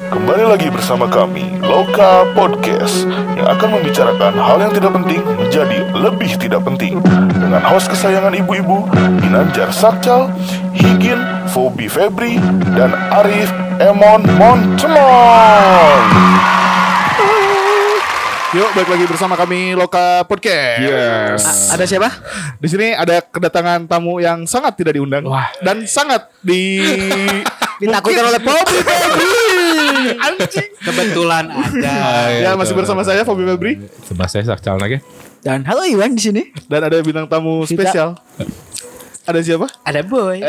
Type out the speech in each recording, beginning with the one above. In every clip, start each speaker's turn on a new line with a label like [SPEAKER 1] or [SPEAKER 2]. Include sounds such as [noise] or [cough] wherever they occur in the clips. [SPEAKER 1] Kembali lagi bersama kami, Loka Podcast, yang akan membicarakan hal yang tidak penting menjadi lebih tidak penting. Dengan host kesayangan ibu-ibu, Ginanjar Sakcal, Higin, Fobi Febri, dan Arif Emon Montemon.
[SPEAKER 2] Yuk, balik lagi bersama kami Loka Podcast.
[SPEAKER 3] Yes.
[SPEAKER 4] A- Ah, ada siapa?
[SPEAKER 2] Di sini ada kedatangan tamu yang sangat tidak diundang
[SPEAKER 3] Wah.
[SPEAKER 2] dan sangat
[SPEAKER 3] [laughs]
[SPEAKER 2] di
[SPEAKER 4] Ditakutkan oleh publik. [laughs]
[SPEAKER 2] anjing.
[SPEAKER 4] Kebetulan ada.
[SPEAKER 2] Ya,
[SPEAKER 3] Iya.
[SPEAKER 2] masih bersama saya Fobi Febri
[SPEAKER 3] Sebab saya sakcal lagi.
[SPEAKER 4] Dan halo Iwan di sini.
[SPEAKER 2] dan ada bintang tamu
[SPEAKER 4] Kita-
[SPEAKER 2] spesial. Ada siapa?
[SPEAKER 4] Ada Boy.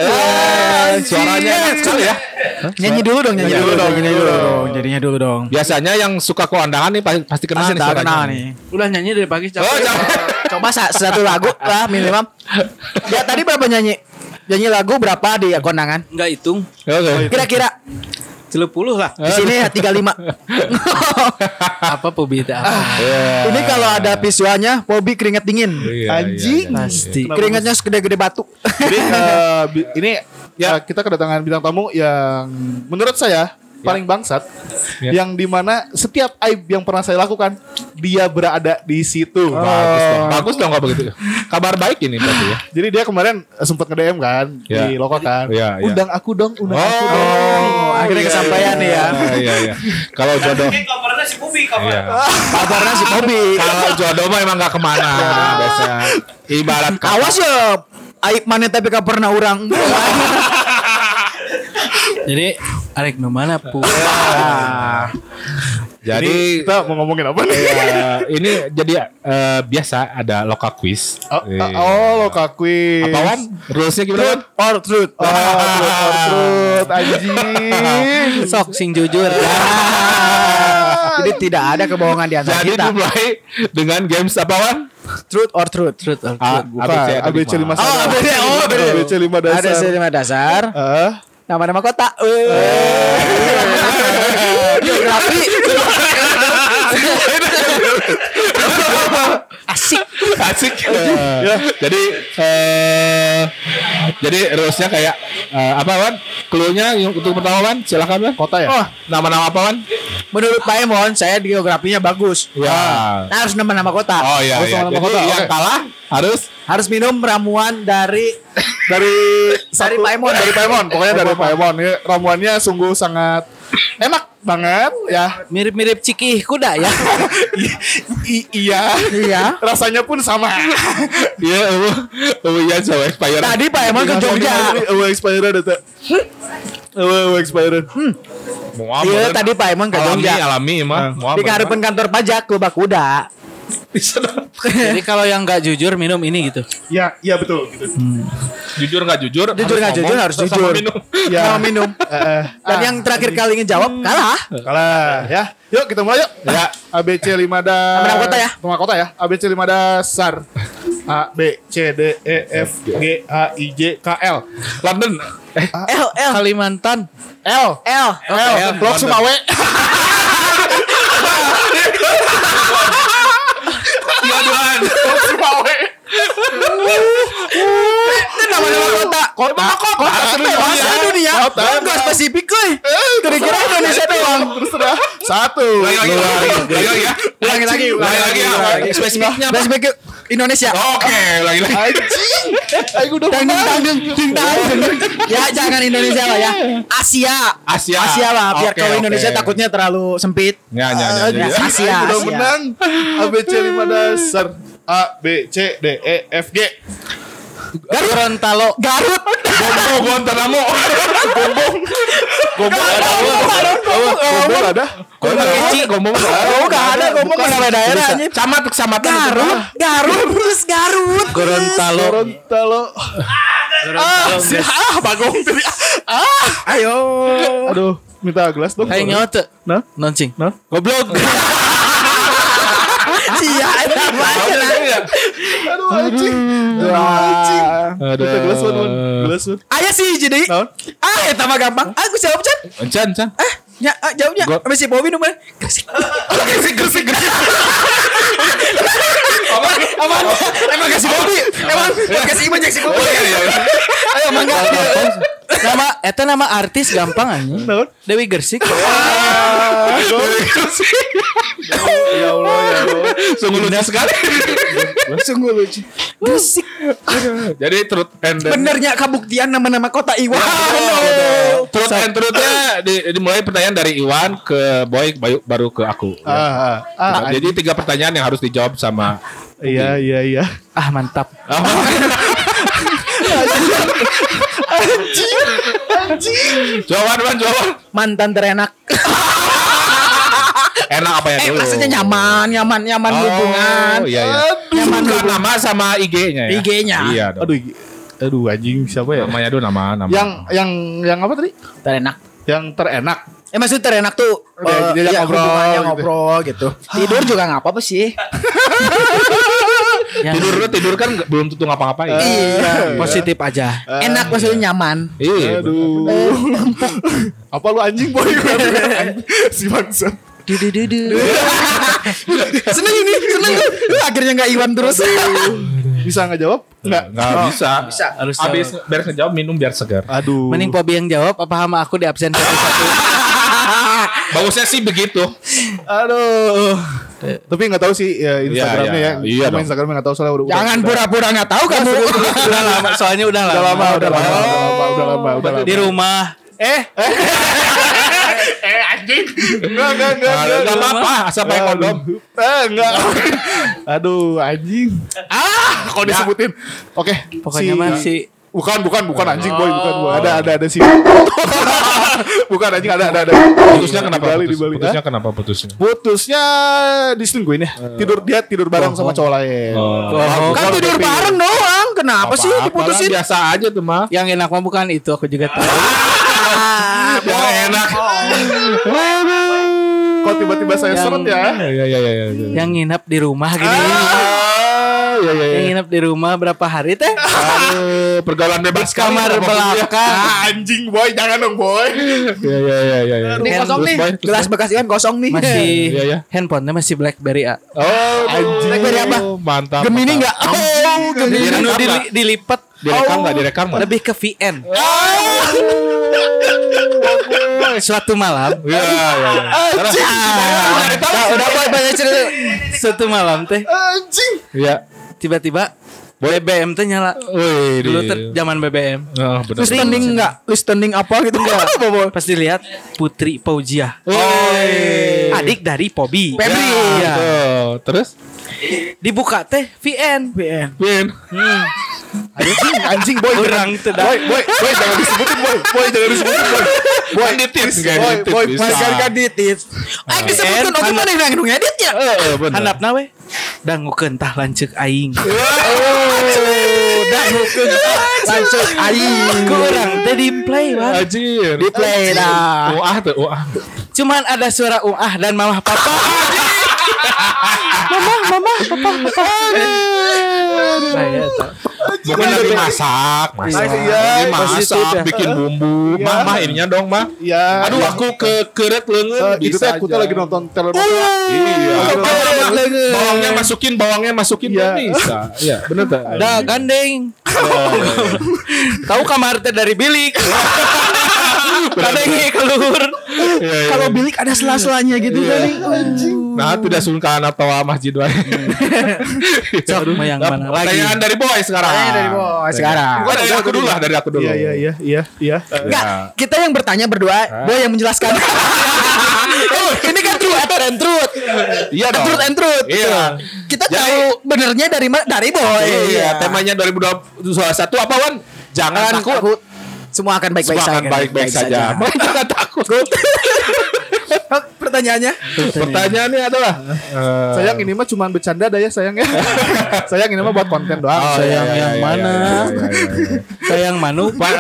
[SPEAKER 3] Suaranya enak sekali ya.
[SPEAKER 4] Ah. nyanyi dulu dong,
[SPEAKER 2] Nyanyi
[SPEAKER 4] nyanyi, dulu,
[SPEAKER 2] dulu
[SPEAKER 4] dong,
[SPEAKER 2] dong,
[SPEAKER 4] nyanyi
[SPEAKER 2] nyanyi dulu
[SPEAKER 4] dulu dong.
[SPEAKER 2] dong.
[SPEAKER 4] Jadinya dulu dong.
[SPEAKER 3] Biasanya yang suka kondangan nih pasti, pasti kenal
[SPEAKER 4] Pasti
[SPEAKER 3] nih
[SPEAKER 4] tak
[SPEAKER 3] suaranya.
[SPEAKER 4] kenal nih.
[SPEAKER 5] Udah nyanyi dari pagi capek.
[SPEAKER 3] Oh, jangan.
[SPEAKER 5] [laughs]
[SPEAKER 4] Coba sa- satu [laughs] lagu lah minimal. Ya tadi berapa nyanyi? Nyanyi lagu berapa di kondangan?
[SPEAKER 5] Enggak hitung.
[SPEAKER 4] Oh, iya.
[SPEAKER 3] Oke.
[SPEAKER 4] Kira-kira
[SPEAKER 5] Celup puluh lah.
[SPEAKER 4] di sini ya [laughs] 35.
[SPEAKER 5] Apa Pobi itu apa?
[SPEAKER 3] Iya.
[SPEAKER 4] Ini kalau ada visualnya, Bobby keringet dingin.
[SPEAKER 3] Iya,
[SPEAKER 2] Anjing.
[SPEAKER 3] iya, iya.
[SPEAKER 5] Pasti.
[SPEAKER 4] Keringatnya segede-gede batu.
[SPEAKER 2] Jadi eh, bi- ini ya kita kedatangan bintang tamu yang menurut saya paling bangsat
[SPEAKER 3] Ya.
[SPEAKER 2] yang dimana setiap aib yang pernah saya lakukan dia berada di situ.
[SPEAKER 3] Bagus dong. Bagus dong kalau begitu. Kabar baik ini berarti ya.
[SPEAKER 2] Jadi dia kemarin sempat nge-DM kan
[SPEAKER 3] Ya.
[SPEAKER 4] Iya.
[SPEAKER 2] di Loka kan.
[SPEAKER 3] Ya, ya.
[SPEAKER 2] Undang aku dong, undang aku dong.
[SPEAKER 4] Oh, akhirnya kesampaian nih ya.
[SPEAKER 3] Iya, iya, iya. Kalau jodoh.
[SPEAKER 5] Kabarnya si Pobi kabar.
[SPEAKER 3] Iya.
[SPEAKER 4] Kabarnya si Bobby.
[SPEAKER 3] Kalau jodoh mah emang gak kemana. Biasa. Ibarat kata-
[SPEAKER 4] Awas ya. Aib mana tapi gak pernah orang.
[SPEAKER 5] Jadi Arek nu mana pu?
[SPEAKER 2] Jadi
[SPEAKER 3] Jadi
[SPEAKER 2] kita mau ngomongin apa nih?
[SPEAKER 4] Iya.
[SPEAKER 3] eh, ini jadi eh, biasa ada loka
[SPEAKER 2] [laughs]
[SPEAKER 3] quiz.
[SPEAKER 2] Oh,
[SPEAKER 3] Iya.
[SPEAKER 2] oh Loka Quiz.
[SPEAKER 3] Apa Wan? Rules-nya gimana? Wan?
[SPEAKER 2] Truth or truth? Oh, truth or truth. Anjing.
[SPEAKER 5] Sok sing jujur.
[SPEAKER 4] Jadi tidak ada kebohongan di antara Nah,
[SPEAKER 3] Jadi
[SPEAKER 4] kita.
[SPEAKER 3] dimulai dengan games apa Wan?
[SPEAKER 4] Truth or truth?
[SPEAKER 5] Truth or
[SPEAKER 3] A-
[SPEAKER 5] truth.
[SPEAKER 2] Bukan, ABC 5
[SPEAKER 4] Oh, ABC, oh, bener.
[SPEAKER 2] ABC 5 dasar.
[SPEAKER 4] Ada sejumlah dasar,
[SPEAKER 2] Eh,
[SPEAKER 4] nama-nama kota. Eh. Geografi. Asik.
[SPEAKER 3] Asik. Ya. Jadi eh jadi rules-nya kayak eh, apa Wan? Clue-nya yang untuk pertama Wan, silakan Wan.
[SPEAKER 2] kota ya?
[SPEAKER 3] Oh, nama-nama apa Wan?
[SPEAKER 4] Menurut Pak Emon, saya di geografinya bagus.
[SPEAKER 3] Ya.
[SPEAKER 4] Nah, harus nama-nama kota.
[SPEAKER 3] Oh iya
[SPEAKER 2] Oh,
[SPEAKER 3] iya.
[SPEAKER 2] sama nama
[SPEAKER 3] Jadi
[SPEAKER 2] kota,
[SPEAKER 3] yang
[SPEAKER 2] oke.
[SPEAKER 3] kalah harus
[SPEAKER 4] Harus minum ramuan dari
[SPEAKER 2] Dari
[SPEAKER 4] dari Pak Emon.
[SPEAKER 2] dari Paemon, pokoknya dari Paemon. Ya, ramuannya sungguh sangat enak banget ya.
[SPEAKER 5] Mirip-mirip Cikih kuda ya.
[SPEAKER 2] I- iya.
[SPEAKER 4] Iya.
[SPEAKER 2] Rasanya pun sama.
[SPEAKER 4] [laughs]
[SPEAKER 3] Iya, oh, oh iya sama expired.
[SPEAKER 4] Tadi Pak Emon
[SPEAKER 2] Iya,
[SPEAKER 4] ke Jogja.
[SPEAKER 2] Awal expired itu. Awal expired.
[SPEAKER 3] Muam,
[SPEAKER 4] Iya,
[SPEAKER 3] Wan.
[SPEAKER 4] tadi ya. Pak Emon ke
[SPEAKER 3] alami
[SPEAKER 4] Jogja.
[SPEAKER 3] alami mah.
[SPEAKER 2] Ah.
[SPEAKER 3] Muam,
[SPEAKER 4] Di
[SPEAKER 3] Wan.
[SPEAKER 4] karepen kantor pajak lubak kuda.
[SPEAKER 5] Jadi kalau yang enggak jujur minum ini gitu.
[SPEAKER 2] Ya, iya betul. Gitu.
[SPEAKER 3] jujur nggak jujur
[SPEAKER 4] Jujur nggak jujur, harus
[SPEAKER 3] terus
[SPEAKER 4] jujur.
[SPEAKER 3] sama minum.
[SPEAKER 2] Ya.
[SPEAKER 4] Nama minum.
[SPEAKER 2] Eh,
[SPEAKER 4] Dan yang terakhir kali ngejawab kalah.
[SPEAKER 2] kalah ya. Yuk kita mulai yuk.
[SPEAKER 3] Ya.
[SPEAKER 2] ABC 5 dasar.
[SPEAKER 4] Nama kota ya.
[SPEAKER 2] Nama kota ya. ABC 5 dasar. A B C D E F G H I J K L
[SPEAKER 3] London eh,
[SPEAKER 4] L L
[SPEAKER 5] Kalimantan.
[SPEAKER 2] L
[SPEAKER 4] L.
[SPEAKER 2] L Blok Sumawe
[SPEAKER 3] iya
[SPEAKER 4] [laughs]
[SPEAKER 3] Tuhan
[SPEAKER 2] Blok Sumawe
[SPEAKER 4] Itu nama-nama kota.
[SPEAKER 2] Kota Kota sedunia
[SPEAKER 4] Bahasa dunia.
[SPEAKER 2] Kota
[SPEAKER 4] Enggak spesifik euy. Kira-kira Indonesia doang.
[SPEAKER 2] Terus sudah Satu
[SPEAKER 3] lagi lagi lagi lagi lagi ya
[SPEAKER 4] Ulangi lagi.
[SPEAKER 3] lagi lagi ya spesifiknya apa?
[SPEAKER 4] Flashback yuk. Indonesia.
[SPEAKER 3] Oh, oke lagi lagi
[SPEAKER 2] Anjing Aku udah
[SPEAKER 4] Dangdung,
[SPEAKER 2] menang.
[SPEAKER 4] dangdung, ding, dangdung. Ya jangan Indonesia lah ya. Asia.
[SPEAKER 3] Asia.
[SPEAKER 4] Asia lah. Biar
[SPEAKER 3] Oke,
[SPEAKER 4] kalau Indonesia
[SPEAKER 3] oke.
[SPEAKER 4] takutnya terlalu sempit.
[SPEAKER 3] ya ya ya,
[SPEAKER 2] Anjing,
[SPEAKER 3] ya
[SPEAKER 4] Asia, Asia.
[SPEAKER 2] Aku udah menang ABC 5 dasar A B C D E F G
[SPEAKER 5] Gorontalo.
[SPEAKER 4] Garut.
[SPEAKER 3] Bombo Guantanamo
[SPEAKER 2] Gombong ada Gombong ada
[SPEAKER 3] Gombong Gombong
[SPEAKER 4] Oh enggak ada ngomong nama daerah anjing.
[SPEAKER 3] camat kecamatan
[SPEAKER 4] Garut, Garut, terus Garut.
[SPEAKER 5] Gorontalo.
[SPEAKER 2] Gorontalo
[SPEAKER 5] Gorontalo.
[SPEAKER 2] ah bagong tadi ah, ah ayo aduh minta gelas dong
[SPEAKER 5] Kayak nyawa tuh.
[SPEAKER 2] Nah.
[SPEAKER 5] Noncing.
[SPEAKER 2] Nah.
[SPEAKER 5] Goblok.
[SPEAKER 4] Iya,
[SPEAKER 3] Ah.
[SPEAKER 4] itu apa?
[SPEAKER 2] aduh anjing aduh anjing minta gelas Wan, Wan. gelas Wan.
[SPEAKER 4] Aya sih jadi.
[SPEAKER 3] Nah?
[SPEAKER 2] Naon?
[SPEAKER 4] Ah, itu mah gampang. Aku jawab, Chan.
[SPEAKER 3] Encan encan
[SPEAKER 4] Ah, ya, ah, jawabnya.
[SPEAKER 3] Gua-
[SPEAKER 4] Apa si Bobby nomor? Gresik.
[SPEAKER 3] Gresik Gresik Gresik
[SPEAKER 4] Aman. Emang kasih Bobby. Emang kasih Iman yang si Bobby. Ayo mangga.
[SPEAKER 5] Nama eta nama artis gampang anjing.
[SPEAKER 2] Naon?
[SPEAKER 5] Dewi Gersik.
[SPEAKER 2] Ah, ya Allah ya Allah.
[SPEAKER 3] Sungguh lucu sekali.
[SPEAKER 4] Sungguh lucu. Musik.
[SPEAKER 3] [laughs] Jadi truth and then-
[SPEAKER 4] Benernya kabuktian nama-nama kota Iwan.
[SPEAKER 3] Truth and truthnya di- dimulai pertanyaan dari Iwan ke Boy bayu- baru ke aku.
[SPEAKER 2] Ah, ah, ah,
[SPEAKER 3] Nah, jadi tiga pertanyaan yang harus dijawab sama
[SPEAKER 2] iya iya iya.
[SPEAKER 4] Ah mantap.
[SPEAKER 3] jawaban Wan, jawaban.
[SPEAKER 4] Mantan terenak.
[SPEAKER 3] Enak apa ya
[SPEAKER 4] Eh
[SPEAKER 3] dulu?
[SPEAKER 4] maksudnya nyaman, nyaman, nyaman
[SPEAKER 3] Oh,
[SPEAKER 4] hubungan.
[SPEAKER 3] Iya, iya.
[SPEAKER 4] Nyaman
[SPEAKER 3] Bukan
[SPEAKER 4] hubungan.
[SPEAKER 3] nama sama IG-nya ya.
[SPEAKER 4] IG-nya.
[SPEAKER 3] Iya. Dong.
[SPEAKER 2] Aduh i- aduh anjing siapa ya?
[SPEAKER 3] Namanya dulu nama nama.
[SPEAKER 2] Yang yang yang apa tadi?
[SPEAKER 4] Terenak.
[SPEAKER 2] Yang terenak.
[SPEAKER 4] Ya maksudnya terenak tuh
[SPEAKER 2] Oke,
[SPEAKER 4] eh,
[SPEAKER 2] diajak
[SPEAKER 4] ya,
[SPEAKER 2] ngobrol
[SPEAKER 4] hubungannya
[SPEAKER 2] gitu.
[SPEAKER 4] ngobrol gitu. Tidur juga nggak apa-apa sih.
[SPEAKER 5] Yang
[SPEAKER 3] tidur lu tidur kan nggak- belum tentu ngapa-ngapain.
[SPEAKER 4] Iya.
[SPEAKER 5] [laughs] positif aja.
[SPEAKER 4] Enak maksudnya nyaman.
[SPEAKER 3] Iya.
[SPEAKER 2] Aduh. apa lu anjing boy? si bangsat.
[SPEAKER 5] [laughs]
[SPEAKER 4] Dudududu. seneng ini, seneng tuh. Lu Akhirnya nggak Iwan terus.
[SPEAKER 2] Bisa nggak jawab? Nggak.
[SPEAKER 3] Nggak bisa. Bisa.
[SPEAKER 5] Harus
[SPEAKER 3] Habis beres ngejawab minum biar segar.
[SPEAKER 2] Aduh.
[SPEAKER 5] Mending Pobi yang jawab apa sama aku di absen satu-satu.
[SPEAKER 3] Bagusnya sih begitu.
[SPEAKER 2] Aduh. Tapi nggak tahu sih ya Instagramnya
[SPEAKER 3] Iya,
[SPEAKER 2] ya.
[SPEAKER 3] iya. Iya
[SPEAKER 2] Sama
[SPEAKER 3] dong.
[SPEAKER 2] Instagramnya nggak tahu soalnya udah.
[SPEAKER 4] Jangan
[SPEAKER 2] udah-
[SPEAKER 4] pura-pura nggak tahu kamu.
[SPEAKER 5] udah lama, soalnya udah lama.
[SPEAKER 2] Udah lama, udah lama, udah lama, udah lama, udah lama.
[SPEAKER 5] Di rumah. Eh,
[SPEAKER 2] Enggak, enggak, enggak.
[SPEAKER 3] Nah, nggak apa-apa, asal pakai kondom.
[SPEAKER 2] Eh, enggak. [laughs] Aduh, anjing. Ah, kok disebutin. Oke,
[SPEAKER 5] pokoknya mah si
[SPEAKER 2] Bukan, bukan, bukan anjing boy, bukan gua. Ada, ada, ada si. [laughs] bukan anjing, ada, ada, ada.
[SPEAKER 3] Putusnya
[SPEAKER 2] Di
[SPEAKER 3] kenapa?
[SPEAKER 2] Bali, di
[SPEAKER 3] putus?
[SPEAKER 2] Bali.
[SPEAKER 3] Putusnya kenapa putusnya?
[SPEAKER 2] Hah? Putusnya diselingkuhin ya. Tidur dia tidur bareng sama cowok lain.
[SPEAKER 5] bohong.
[SPEAKER 4] Kan tidur bareng doang. Kenapa sih
[SPEAKER 3] Apa-apa
[SPEAKER 4] diputusin?
[SPEAKER 3] lah, Biasa aja tuh mah.
[SPEAKER 5] yang enak mah bukan itu aku juga
[SPEAKER 4] [laughs]
[SPEAKER 5] tahu.
[SPEAKER 4] Ah,
[SPEAKER 3] Yang enak.
[SPEAKER 2] Kok tiba-tiba saya
[SPEAKER 5] Yang-
[SPEAKER 2] seret ya?
[SPEAKER 3] Iya iya iya. iya.
[SPEAKER 5] yang nginep di rumah gini.
[SPEAKER 2] Ah, ya
[SPEAKER 4] iya,
[SPEAKER 2] ya
[SPEAKER 5] Yang
[SPEAKER 2] ya.
[SPEAKER 5] nginep di rumah berapa hari teh?
[SPEAKER 4] Ah,
[SPEAKER 3] Aduh, pergaulan bebas
[SPEAKER 5] Kamar
[SPEAKER 3] kali, apa-apa.
[SPEAKER 5] belakang.
[SPEAKER 2] Ah, anjing boy, jangan dong boy.
[SPEAKER 3] Iya iya iya iya. iya.
[SPEAKER 4] Ini kosong
[SPEAKER 3] Terus,
[SPEAKER 4] nih.
[SPEAKER 3] Boy, terus,
[SPEAKER 4] Gelas bekas Iwan kosong nih.
[SPEAKER 5] Masih
[SPEAKER 3] Iya, iya.
[SPEAKER 5] handphonenya masih BlackBerry A.
[SPEAKER 3] Oh,
[SPEAKER 2] Anjing.
[SPEAKER 4] Blackberry apa?
[SPEAKER 3] Mantap.
[SPEAKER 4] Gemini nggak? Oh,
[SPEAKER 3] mantap.
[SPEAKER 4] Gemini.
[SPEAKER 3] Direkam
[SPEAKER 5] Dulu
[SPEAKER 3] nggak?
[SPEAKER 5] dili- dilipat Oh,
[SPEAKER 3] Direkam nggak? Direkam nggak?
[SPEAKER 5] lebih ke
[SPEAKER 4] [laughs]
[SPEAKER 5] VN. Suatu malam,
[SPEAKER 3] Iya iya. iya. Terus.
[SPEAKER 5] udah, udah boy banyak cerita. Suatu malam teh
[SPEAKER 2] Anjing.
[SPEAKER 3] Iya.
[SPEAKER 5] tiba-tiba BBM teh nyala.
[SPEAKER 3] Wih,
[SPEAKER 5] Dulu
[SPEAKER 3] di-
[SPEAKER 5] ter zaman BBM.
[SPEAKER 3] ya. Ah, benar.
[SPEAKER 4] Listening enggak? Listening [laughs] apa gitu enggak?
[SPEAKER 5] Pas dilihat Putri Paujiah.
[SPEAKER 3] Wih.
[SPEAKER 5] Adik dari Pobi.
[SPEAKER 4] Pebri.
[SPEAKER 5] Iya.
[SPEAKER 3] Betul. Terus?
[SPEAKER 5] Dibuka teh VN.
[SPEAKER 3] Win.
[SPEAKER 2] Anjing, anjing boy. jangan-
[SPEAKER 5] Orang itu dah.
[SPEAKER 2] Boy, boy, boy jangan disebutin boy. Boy jangan disebutin boy. Boy,
[SPEAKER 3] Editit.
[SPEAKER 2] Boy, boy,
[SPEAKER 3] Bisa.
[SPEAKER 4] ditis. Ah, disebutkan oke mana yang ngedung edit ya?
[SPEAKER 3] Eh, benar.
[SPEAKER 5] Handapna we. Dangukeun tah lanceuk aing.
[SPEAKER 4] Udah mungkin langsung aing.
[SPEAKER 5] Ku urang teh di play Bang.
[SPEAKER 3] Anjir.
[SPEAKER 4] Di play dah.
[SPEAKER 3] Uah tuh, ah. uah.
[SPEAKER 5] Cuman ada suara um ah dan mamah
[SPEAKER 4] [laughs]
[SPEAKER 5] papa. mamah, mamah, papa, papa. Nah, ya, tak.
[SPEAKER 3] Bukan lagi masak, masak.
[SPEAKER 2] Iya,
[SPEAKER 3] Lagi
[SPEAKER 5] positif
[SPEAKER 3] masak,
[SPEAKER 5] ya.
[SPEAKER 3] bikin bumbu. Mah, mah ininya dong, mah.
[SPEAKER 2] Iya.
[SPEAKER 3] Aduh, aku ke keret
[SPEAKER 2] Eh,
[SPEAKER 3] lengan.
[SPEAKER 2] itu
[SPEAKER 3] Bisa
[SPEAKER 2] teh aku teh
[SPEAKER 3] aja.
[SPEAKER 2] lagi nonton telenovela.
[SPEAKER 3] Iya.
[SPEAKER 2] Aku teh lagi nonton
[SPEAKER 3] Bawangnya masukin, bawangnya masukin
[SPEAKER 2] Iya.
[SPEAKER 3] kan bisa. Iya, bener tak?
[SPEAKER 5] Dah gandeng. Tahu kamar teh dari bilik. Kadang keluar.
[SPEAKER 3] Iya, iya.
[SPEAKER 4] Kalau bilik ada sela-selanya gitu kan.
[SPEAKER 3] Nah, tidak sungkan atau masjid wae. [laughs]
[SPEAKER 5] Sok mau yang mana lagi?
[SPEAKER 3] Pertanyaan dari boy sekarang.
[SPEAKER 4] Pertanyaan dari boy sekarang.
[SPEAKER 3] Bukan dari aku dulu lah, dari aku dulu.
[SPEAKER 2] Iya, iya, iya, iya, iya.
[SPEAKER 4] Enggak,
[SPEAKER 3] Ya.
[SPEAKER 4] kita yang bertanya berdua, boy yang
[SPEAKER 3] [laughs]
[SPEAKER 4] menjelaskan. Eh, Ini kan true and truth. Eh,
[SPEAKER 3] Iya dong.
[SPEAKER 4] Truth and truth.
[SPEAKER 3] Iya.
[SPEAKER 4] Kita
[SPEAKER 3] Jadi-
[SPEAKER 4] tahu benernya dari mana? Dari boy.
[SPEAKER 3] Iya, temanya 2021 apa, Wan? Jangan
[SPEAKER 4] Jangan
[SPEAKER 3] takut.
[SPEAKER 4] takut. Kan Semua akan baik-baik
[SPEAKER 3] Semua
[SPEAKER 4] saja.
[SPEAKER 3] akan baik-baik saja. Makanya Jangan takut.
[SPEAKER 4] [laughs] Pertanyaannya?
[SPEAKER 3] Pertanyaannya adalah eh,
[SPEAKER 2] Sayang ini mah cuman bercanda dah ya sayang [laughs] ya. sayang ini mah buat konten doang.
[SPEAKER 3] oh,
[SPEAKER 5] sayang
[SPEAKER 3] iya, iya,
[SPEAKER 5] yang
[SPEAKER 3] iya,
[SPEAKER 5] mana?
[SPEAKER 3] iya, iya, iya, iya.
[SPEAKER 5] Sayang Manu.
[SPEAKER 3] Ma-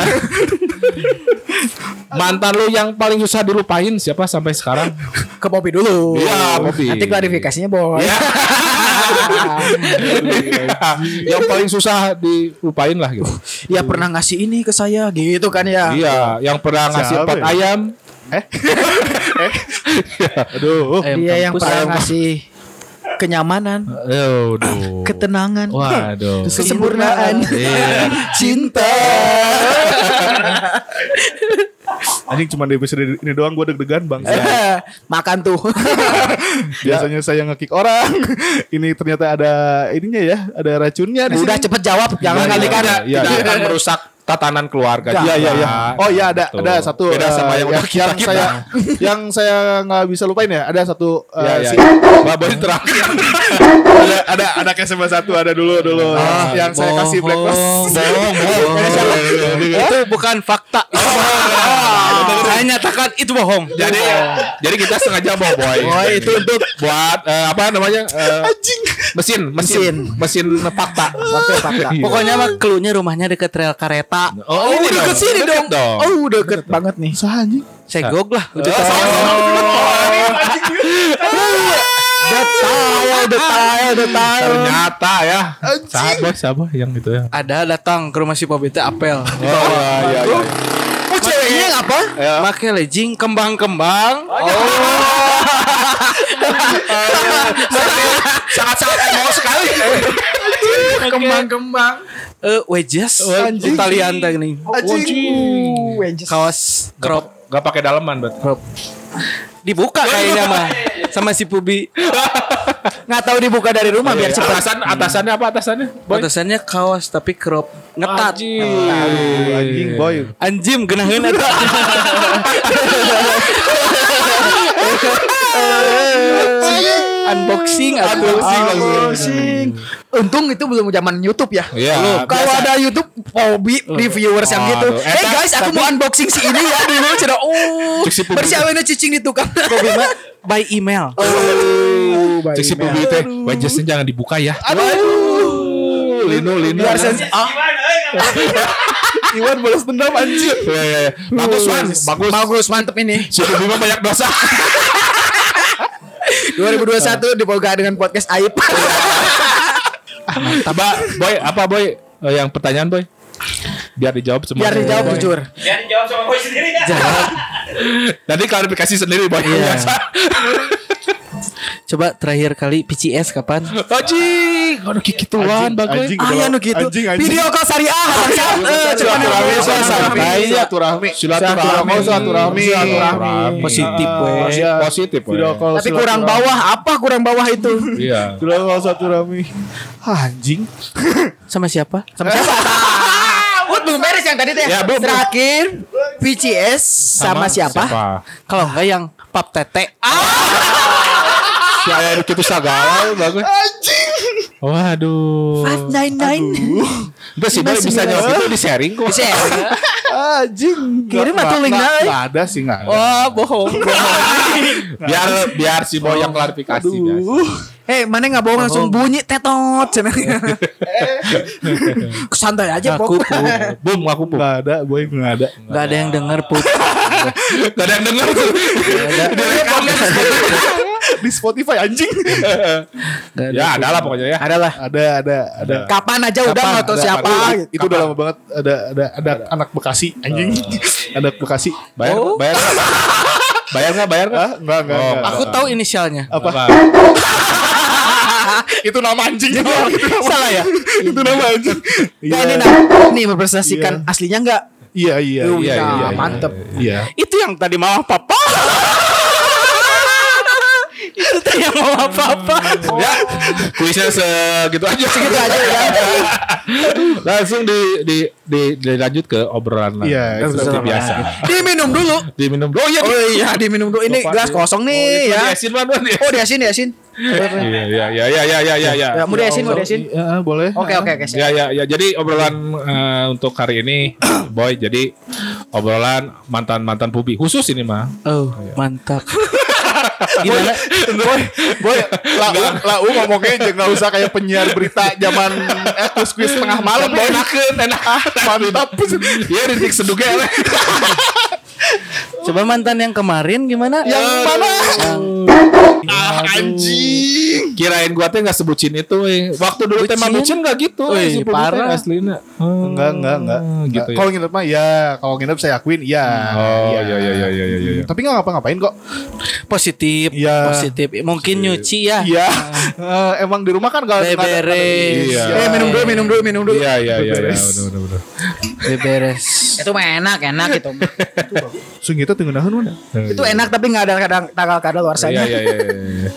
[SPEAKER 3] Mantan lu yang paling susah dilupain siapa sampai [laughs] sekarang?
[SPEAKER 4] Ke Poppy dulu.
[SPEAKER 3] Iya, Poppy. Iya.
[SPEAKER 4] Nanti klarifikasinya boy.
[SPEAKER 3] yang paling susah dilupain lah gitu.
[SPEAKER 4] [laughs] Ya pernah ngasih ini ke saya gitu kan ya.
[SPEAKER 3] Iya, yang pernah ngasih
[SPEAKER 2] Siapa
[SPEAKER 3] empat
[SPEAKER 2] ya?
[SPEAKER 3] ayam.
[SPEAKER 2] Aduh.
[SPEAKER 4] Dia yang pernah ngasih kenyamanan,
[SPEAKER 3] Aduh.
[SPEAKER 4] ketenangan,
[SPEAKER 3] Waduh.
[SPEAKER 4] kesempurnaan,
[SPEAKER 3] Iya.
[SPEAKER 4] cinta.
[SPEAKER 2] Anjing cuma di episode ini doang gue deg-degan bang. [laughs]
[SPEAKER 3] Iya.
[SPEAKER 4] Makan
[SPEAKER 3] [laughs]
[SPEAKER 4] tuh.
[SPEAKER 2] Biasanya saya ngekick orang. [laughs] ini ternyata ada ininya ya, ada racunnya di
[SPEAKER 4] Udah
[SPEAKER 2] sini.
[SPEAKER 4] cepet jawab, jangan
[SPEAKER 3] Iya,
[SPEAKER 4] kali kan.
[SPEAKER 3] iya, iya.
[SPEAKER 5] Tidak akan merusak tatanan keluarga.
[SPEAKER 2] Iya iya iya. Oh iya ada
[SPEAKER 3] Nah, Betul.
[SPEAKER 2] ada satu
[SPEAKER 5] Beda
[SPEAKER 2] eh,
[SPEAKER 5] sama yang udah kita-
[SPEAKER 2] yang
[SPEAKER 5] kita.
[SPEAKER 2] saya [laughs] yang saya nggak bisa lupain ya. Ada satu eh,
[SPEAKER 3] Ya, ya.
[SPEAKER 2] si-
[SPEAKER 3] Baboy terakhir.
[SPEAKER 2] ada ada anak SMA satu ada dulu dulu eh, yang saya kasih blacklist.
[SPEAKER 3] Oh, iya,
[SPEAKER 5] Itu bukan [laughs] fakta. Itu bohong. [laughs] Saya nyatakan itu bohong.
[SPEAKER 3] Jadi jadi kita sengaja bawa Oh. boy.
[SPEAKER 5] Oh, itu
[SPEAKER 3] untuk buat eh, apa namanya? eh, mesin, mesin, mesin fakta.
[SPEAKER 4] Oke, fakta.
[SPEAKER 5] Pokoknya mah cluenya rumahnya deket rel kereta.
[SPEAKER 3] Oh, ini dong.
[SPEAKER 5] deket sini
[SPEAKER 3] Deket
[SPEAKER 5] dong.
[SPEAKER 3] dong.
[SPEAKER 2] Uh,
[SPEAKER 3] Oh.
[SPEAKER 4] Oh, deket banget nih.
[SPEAKER 5] Segog lah. Udah
[SPEAKER 3] [laughs]
[SPEAKER 4] Detail, detail, detail.
[SPEAKER 3] Ternyata ya. Sabar, sabar yang itu ya.
[SPEAKER 5] ada datang ke rumah si Pobita apel. Iya,
[SPEAKER 3] Oh, iya, iya.
[SPEAKER 4] Oh, ceweknya apa?
[SPEAKER 5] Make legging kembang-kembang. Oh.
[SPEAKER 3] Sangat-sangat emosi sekali.
[SPEAKER 5] Kembang-kembang. Eh, wedges
[SPEAKER 2] Anjing.
[SPEAKER 5] Italian teh nih. Kaos crop
[SPEAKER 3] Gak pakai daleman, bet.
[SPEAKER 5] crop. Dibuka kayaknya mah sama si Pubi.
[SPEAKER 4] Nggak tahu dibuka dari rumah biar cepat.
[SPEAKER 3] Atasan, atasannya apa atasannya? Boy.
[SPEAKER 5] Batasannya kaos tapi crop ngetat.
[SPEAKER 2] Aduh, anjing boy.
[SPEAKER 5] Anjim genahin
[SPEAKER 4] [laughs]
[SPEAKER 5] eta. unboxing atuh.
[SPEAKER 4] Ah, Untung itu belum zaman YouTube ya.
[SPEAKER 5] Ah,
[SPEAKER 3] Iya,
[SPEAKER 4] Belum.
[SPEAKER 3] biasa.
[SPEAKER 4] Kalau ada YouTube hobi reviewers yang gitu.
[SPEAKER 3] Aduh. Eh,
[SPEAKER 4] Eh guys, aku mau unboxing si ini ya dulu. Cina, oh,
[SPEAKER 3] Cek si publik.
[SPEAKER 4] bersih awena cicing di tukang. Oh,
[SPEAKER 5] by email.
[SPEAKER 3] Cek si Bubi teh, wedgesnya jangan dibuka ya. Aduh. Lino, Lino.
[SPEAKER 4] Biar sensi.
[SPEAKER 2] Iwan balas dendam anjing.
[SPEAKER 3] Ya, ya, ya. Bagus, Wan. Bagus.
[SPEAKER 4] Bagus, mantep ini.
[SPEAKER 3] Si Bubi mah banyak [laughs] dosa.
[SPEAKER 4] 2021 diboga dengan podcast Aib.
[SPEAKER 3] Apa, boy? Apa, boy? Eh, yang pertanyaan, boy. Biar dijawab semua.
[SPEAKER 4] Biar dijawab
[SPEAKER 5] Iya,
[SPEAKER 4] jujur.
[SPEAKER 6] Biar dijawab sama boy sendiri ya. dah.
[SPEAKER 3] Nanti klarifikasi sendiri, boy. [laughs] Biasa.
[SPEAKER 5] Coba terakhir kali PCS kapan?
[SPEAKER 3] Anjing, aduh kiki tuan, bagus.
[SPEAKER 2] anjing, anu
[SPEAKER 4] Ah, ya nu gitu.
[SPEAKER 2] Anjing, anjing.
[SPEAKER 4] Video call syariah. Eh, cuman yang video call iya.
[SPEAKER 3] Silaturahmi, silaturahmi.
[SPEAKER 4] syariah.
[SPEAKER 2] Silaturahmi.
[SPEAKER 3] Silaturahmi.
[SPEAKER 2] Oh, silaturahmi.
[SPEAKER 3] Silaturahmi. Eh,
[SPEAKER 5] Positif
[SPEAKER 2] Ah,
[SPEAKER 5] we.
[SPEAKER 2] iya.
[SPEAKER 3] Positif, we.
[SPEAKER 2] Video call
[SPEAKER 4] Tapi kurang
[SPEAKER 2] silaturahmi.
[SPEAKER 4] bawah apa kurang bawah itu?
[SPEAKER 3] Iya.
[SPEAKER 2] Video call silaturahmi. Hah, anjing.
[SPEAKER 5] Sama siapa?
[SPEAKER 4] Sama siapa? Ut belum beres yang tadi teh.
[SPEAKER 3] Ya, belum, belum.
[SPEAKER 4] Terakhir VCS sama, siapa?
[SPEAKER 5] Kalau enggak yang pap tete.
[SPEAKER 4] Ah,
[SPEAKER 3] Si Ayah Ruki itu sagala, bagus. Waduh.
[SPEAKER 4] Five nine nine.
[SPEAKER 3] Itu sih boy bisa nyelok itu di sharing kok.
[SPEAKER 4] Bisa ya?
[SPEAKER 2] Anjing.
[SPEAKER 4] Kirim
[SPEAKER 2] Nggak-
[SPEAKER 4] atuh
[SPEAKER 2] nggak-
[SPEAKER 4] linknya, eh.
[SPEAKER 2] nggak ada sih nggak. ada.
[SPEAKER 5] Oh, bohong.
[SPEAKER 3] Biar biar si boy yang klarifikasi. biasa.
[SPEAKER 4] Eh, mana nggak bohong langsung bunyi tetot cenanya. Santai aja,
[SPEAKER 5] Aku
[SPEAKER 4] Bob.
[SPEAKER 5] pun
[SPEAKER 3] Bum, aku bum.
[SPEAKER 2] Nggak ada, boy nggak ada.
[SPEAKER 5] enggak ada yang denger put.
[SPEAKER 3] Gak ada yang denger tuh.
[SPEAKER 2] Di Spotify anjing.
[SPEAKER 3] Ya, [laughs] ada lah pokoknya ya.
[SPEAKER 4] Ada lah.
[SPEAKER 2] ada, ada, ada.
[SPEAKER 4] Kapan aja udah
[SPEAKER 3] Kapan?
[SPEAKER 4] nggak tahu
[SPEAKER 3] Ada-
[SPEAKER 4] siapa?
[SPEAKER 3] ada-
[SPEAKER 4] gitu.
[SPEAKER 2] Itu udah lama banget ada ada ada Oh. anak Bekasi anjing. [laughs] Anak Bekasi. Ah,
[SPEAKER 3] Bayar, bayar. Bayar nggak, bayar nggak?
[SPEAKER 2] Hah? Enggak, enggak,
[SPEAKER 3] Oh,
[SPEAKER 2] enggak.
[SPEAKER 5] Aku tahu inisialnya.
[SPEAKER 2] apa? itu nama anjing.
[SPEAKER 4] Salah ya?
[SPEAKER 2] itu nama anjing.
[SPEAKER 4] Ya, ini nah, nih mempresentasikan aslinya nggak?
[SPEAKER 2] Iya, iya, iya,
[SPEAKER 4] Nah,
[SPEAKER 2] iya.
[SPEAKER 4] mantep.
[SPEAKER 2] Iya.
[SPEAKER 5] Itu yang tadi mama
[SPEAKER 4] [laughs]
[SPEAKER 5] papa. Itu tadi yang mama papa.
[SPEAKER 3] Ya, kuisnya segitu aja.
[SPEAKER 4] Gitu aja ya.
[SPEAKER 3] Langsung di, di, di, dilanjut ke obrolan lah.
[SPEAKER 2] Iya,
[SPEAKER 3] seperti
[SPEAKER 2] obrolan.
[SPEAKER 3] biasa.
[SPEAKER 4] Diminum dulu.
[SPEAKER 3] Diminum. Oh iya, oh,
[SPEAKER 4] Oh iya, [laughs] diminum dulu. Ini
[SPEAKER 3] Lupa.
[SPEAKER 4] gelas kosong nih ya.
[SPEAKER 3] Yasin mana nih?
[SPEAKER 4] Oh, diasin, diasin.
[SPEAKER 3] Iya, iya, iya, iya, iya, iya, iya.
[SPEAKER 4] Ya, mau diasin, mau diasin.
[SPEAKER 2] Iya, boleh.
[SPEAKER 4] Oke, oke, oke.
[SPEAKER 3] Ya, ya, ya. Jadi obrolan eh, untuk hari ini, boy. Jadi obrolan mantan mantan pubi khusus ini mah.
[SPEAKER 5] Oh, mantap. Gimana?
[SPEAKER 2] Boy, boy, lau lau ngomongnya aja nggak usah kayak penyiar berita zaman etus kuis tengah malam, boy.
[SPEAKER 3] enakan, enak.
[SPEAKER 2] Mantap.
[SPEAKER 3] Iya, rintik seduga. ya.
[SPEAKER 5] Coba mantan yang kemarin gimana?
[SPEAKER 2] Yang mana?
[SPEAKER 3] Ah, anjing. Kirain gua teh nggak sebutin itu. eh. Waktu dulu teh
[SPEAKER 5] Bucin?
[SPEAKER 3] bucin nggak gitu.
[SPEAKER 5] Wih,
[SPEAKER 3] eh, si Pubi teh
[SPEAKER 5] parah.
[SPEAKER 3] Aslinya.
[SPEAKER 2] Enggak, enggak, enggak.
[SPEAKER 3] Gitu ya.
[SPEAKER 2] Kalau nginep mah ya, kalau nginep saya akuin iya.
[SPEAKER 3] Oh, iya, iya, iya, iya, iya. iya.
[SPEAKER 2] Tapi nggak ngapa-ngapain kok.
[SPEAKER 5] Positif,
[SPEAKER 2] Iya.
[SPEAKER 5] positif. Mungkin nyuci
[SPEAKER 4] Ah.
[SPEAKER 5] ya.
[SPEAKER 2] Iya. Eh, Emang di rumah kan kalau
[SPEAKER 5] Beberes.
[SPEAKER 3] Iya.
[SPEAKER 2] gitu. Eh,
[SPEAKER 4] Eh, minum dulu, minum dulu, minum dulu.
[SPEAKER 3] Iya, iya, iya, iya,
[SPEAKER 2] Beres.
[SPEAKER 3] benar, benar, benar.
[SPEAKER 5] Beberes.
[SPEAKER 4] Itu mah enak, enak gitu.
[SPEAKER 2] Sung itu tengah nahan mana?
[SPEAKER 4] itu enak tapi nggak ada kadang tanggal kadal luar
[SPEAKER 3] Iya,
[SPEAKER 4] sana.
[SPEAKER 3] iya, iya, iya.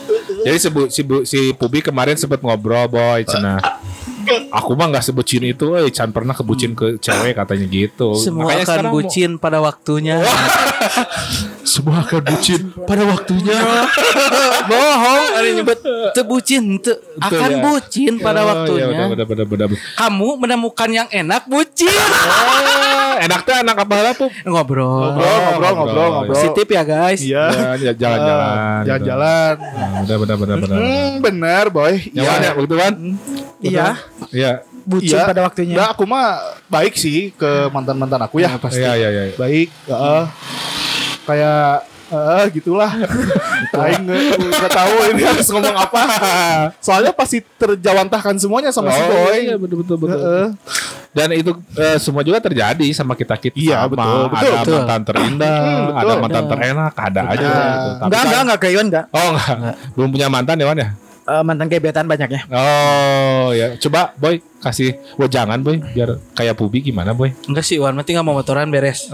[SPEAKER 3] Jadi si, Bu- si, Bu- si Pubi kemarin sempat ngobrol boy Cina. Aku mah nggak sebucin itu, eh Chan pernah kebucin ke cewek katanya gitu.
[SPEAKER 5] Semua
[SPEAKER 3] Makanya
[SPEAKER 5] akan
[SPEAKER 3] sekarang mau-
[SPEAKER 5] bucin pada waktunya.
[SPEAKER 3] semua akan bucin pada waktunya.
[SPEAKER 5] [laughs] Bohong, ada yang nyebut teu bucin teu akan
[SPEAKER 3] ya.
[SPEAKER 5] bucin pada
[SPEAKER 3] Oh, iya, benar,
[SPEAKER 5] waktunya.
[SPEAKER 3] benar, benar, benar, benar.
[SPEAKER 5] Kamu menemukan yang enak bucin.
[SPEAKER 3] Eh, enak teh anak apa lah
[SPEAKER 2] Eh,
[SPEAKER 3] Pup? Ah,
[SPEAKER 5] Ngobrol.
[SPEAKER 2] Ngobrol, ngobrol, ngobrol, ngobrol.
[SPEAKER 5] Positif ya guys.
[SPEAKER 2] Iya.
[SPEAKER 3] Ya, jalan-jalan. Nah.
[SPEAKER 2] Ah, Jalan-jalan.
[SPEAKER 3] Benar, benar, benar, benar.
[SPEAKER 2] Hmm, benar boy. Iya.
[SPEAKER 3] Ya, Wan, ya, begitu Wan.
[SPEAKER 2] Hmm.
[SPEAKER 4] Iya,
[SPEAKER 3] Iya.
[SPEAKER 4] bucin pada waktunya.
[SPEAKER 2] Nah, aku mah baik sih ke mantan-mantan aku ya pasti.
[SPEAKER 3] Iya, iya, iya.
[SPEAKER 2] Baik, heeh. kayak eh
[SPEAKER 3] [laughs]
[SPEAKER 2] gitulah. Aing nge- nggak tahu ini harus ngomong apa. Soalnya pasti terjawantahkan semuanya sama si
[SPEAKER 3] Oh,
[SPEAKER 2] boy.
[SPEAKER 3] iya, betul, betul, betul.
[SPEAKER 2] Heeh.
[SPEAKER 3] Dan itu eh, semua juga terjadi sama kita kita.
[SPEAKER 2] Iya, betul, betul,
[SPEAKER 3] ada
[SPEAKER 5] betul.
[SPEAKER 3] mantan terindah,
[SPEAKER 2] Hmm, betul.
[SPEAKER 3] ada mantan terenak, ada aja. gitu. Tapi
[SPEAKER 4] Enggak,
[SPEAKER 3] kan-
[SPEAKER 4] enggak, enggak kayuan enggak.
[SPEAKER 3] Oh enggak. belum punya mantan ya Wan ya?
[SPEAKER 4] Eh, mantan gebetan banyaknya.
[SPEAKER 3] Oh ya, coba Boy kasih, wah jangan Boy, biar kayak Pubi
[SPEAKER 2] [laughs]
[SPEAKER 3] gimana Boy?
[SPEAKER 5] Enggak sih Iwan, penting nggak mau motoran beres.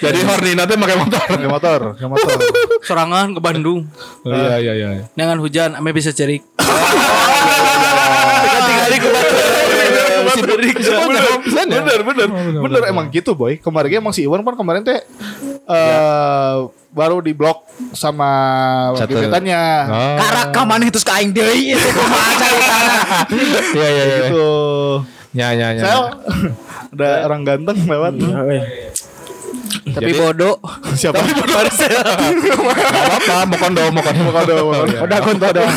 [SPEAKER 3] Jadi horny nanti pakai motor.
[SPEAKER 2] Pakai motor, pakai
[SPEAKER 3] [laughs]
[SPEAKER 2] motor.
[SPEAKER 5] Sorangan ke Bandung
[SPEAKER 3] Oh, Iya iya iya.
[SPEAKER 5] dengan hujan, ame bisa cerik. Tinggal-tinggal ke
[SPEAKER 2] Eh, bener, bener, bener, bener, bener, emang gitu boy. Kemarin emang si Iwan kan kemarin teh eh baru di blok sama
[SPEAKER 3] Ya. Satu.
[SPEAKER 2] gebetannya.
[SPEAKER 3] Oh,
[SPEAKER 2] Ah.
[SPEAKER 4] Karak ka maneh terus ka aing deui. Kumaha caranya?
[SPEAKER 3] Iya iya iya.
[SPEAKER 2] Gitu.
[SPEAKER 3] Ya ya ya. Iya.
[SPEAKER 2] Saya [laughs] ada orang ganteng lewat.
[SPEAKER 4] Tapi
[SPEAKER 3] Jadi-
[SPEAKER 4] bodoh.
[SPEAKER 2] Siapa?
[SPEAKER 3] Gak apa-apa, mau kondo, mau kondo, mau kondo.
[SPEAKER 2] Waduh, waduh.
[SPEAKER 3] Udah kondo dong.
[SPEAKER 2] [laughs]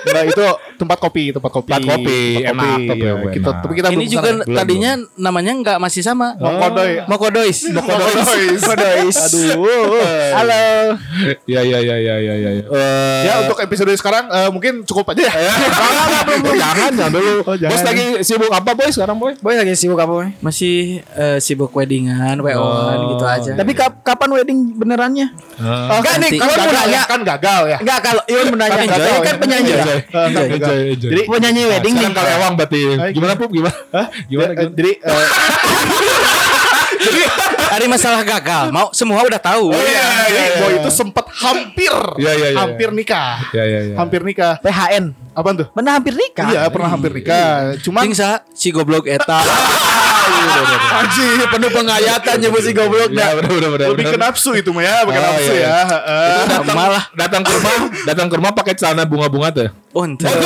[SPEAKER 2] Nah, itu tempat kopi, tempat kopi.
[SPEAKER 3] Tempat kopi, enak, kopi
[SPEAKER 2] ya.
[SPEAKER 3] enak.
[SPEAKER 2] Kita, tapi kita
[SPEAKER 5] Ini
[SPEAKER 2] belum
[SPEAKER 5] juga
[SPEAKER 2] kesana. ya.
[SPEAKER 3] Belum,
[SPEAKER 5] tadinya namanya nggak masih sama.
[SPEAKER 2] Mokodoy.
[SPEAKER 5] Mokodois.
[SPEAKER 2] Mokodois. Aduh. Halo.
[SPEAKER 3] Ya ya ya ya ya ya. Eh,
[SPEAKER 2] Ya untuk episode sekarang eh, mungkin cukup [laughs] aja ya.
[SPEAKER 3] jangan, jangan, jangan, jangan dulu.
[SPEAKER 2] Oh, jangan.
[SPEAKER 3] Bos lagi sibuk apa boy sekarang boy?
[SPEAKER 4] Boy lagi sibuk apa, Boy?
[SPEAKER 5] Masih eh, sibuk weddingan, wo-an gitu aja.
[SPEAKER 4] Tapi kap- kapan wedding benerannya? Enggak nih,
[SPEAKER 5] nanti.
[SPEAKER 4] kalau mau
[SPEAKER 2] gagal, ya,
[SPEAKER 4] nanya.
[SPEAKER 2] kan gagal ya.
[SPEAKER 4] Enggak kalau Iwan mau nanya.
[SPEAKER 2] Enjoy,
[SPEAKER 4] Iwan kan
[SPEAKER 2] enjoy.
[SPEAKER 4] penyanyi.
[SPEAKER 2] Enjoy.
[SPEAKER 3] Enjoy,
[SPEAKER 2] Enggak,
[SPEAKER 3] enjoy,
[SPEAKER 2] enggak.
[SPEAKER 3] enjoy.
[SPEAKER 2] Jadi
[SPEAKER 4] Penyanyi wedding nih.
[SPEAKER 3] Sekarang karyawan berarti.
[SPEAKER 2] Hai,
[SPEAKER 3] Gimana pup? Gimana? Hah? Gimana?
[SPEAKER 2] eh,
[SPEAKER 3] gimana?
[SPEAKER 2] jadi eh,
[SPEAKER 5] Ada masalah gagal, mau semua udah tahu.
[SPEAKER 2] iya, jadi
[SPEAKER 3] iya,
[SPEAKER 2] boy
[SPEAKER 3] iya.
[SPEAKER 2] itu sempat hampir
[SPEAKER 3] Iya, iya, iya.
[SPEAKER 2] hampir nikah.
[SPEAKER 3] Ya ya ya.
[SPEAKER 2] Hampir nikah.
[SPEAKER 4] PHN.
[SPEAKER 2] Apaan tuh?
[SPEAKER 4] Mana hampir nikah?
[SPEAKER 2] Iya, pernah hampir nikah. Cuman
[SPEAKER 5] Ting sa, si goblok eta.
[SPEAKER 4] Anjir, penuh pengayatan nyebut si goblok
[SPEAKER 3] Ya, bener, bener, bener,
[SPEAKER 2] lebih
[SPEAKER 3] bener.
[SPEAKER 2] ke nafsu itu mah ya, bukan
[SPEAKER 3] Oh,
[SPEAKER 2] nafsu
[SPEAKER 3] iya,
[SPEAKER 2] ya.
[SPEAKER 3] iya.
[SPEAKER 2] Heeh.
[SPEAKER 3] Itu datang, datang ke rumah, datang ke rumah pakai celana bunga-bunga tuh.
[SPEAKER 5] Oh, ente. [laughs]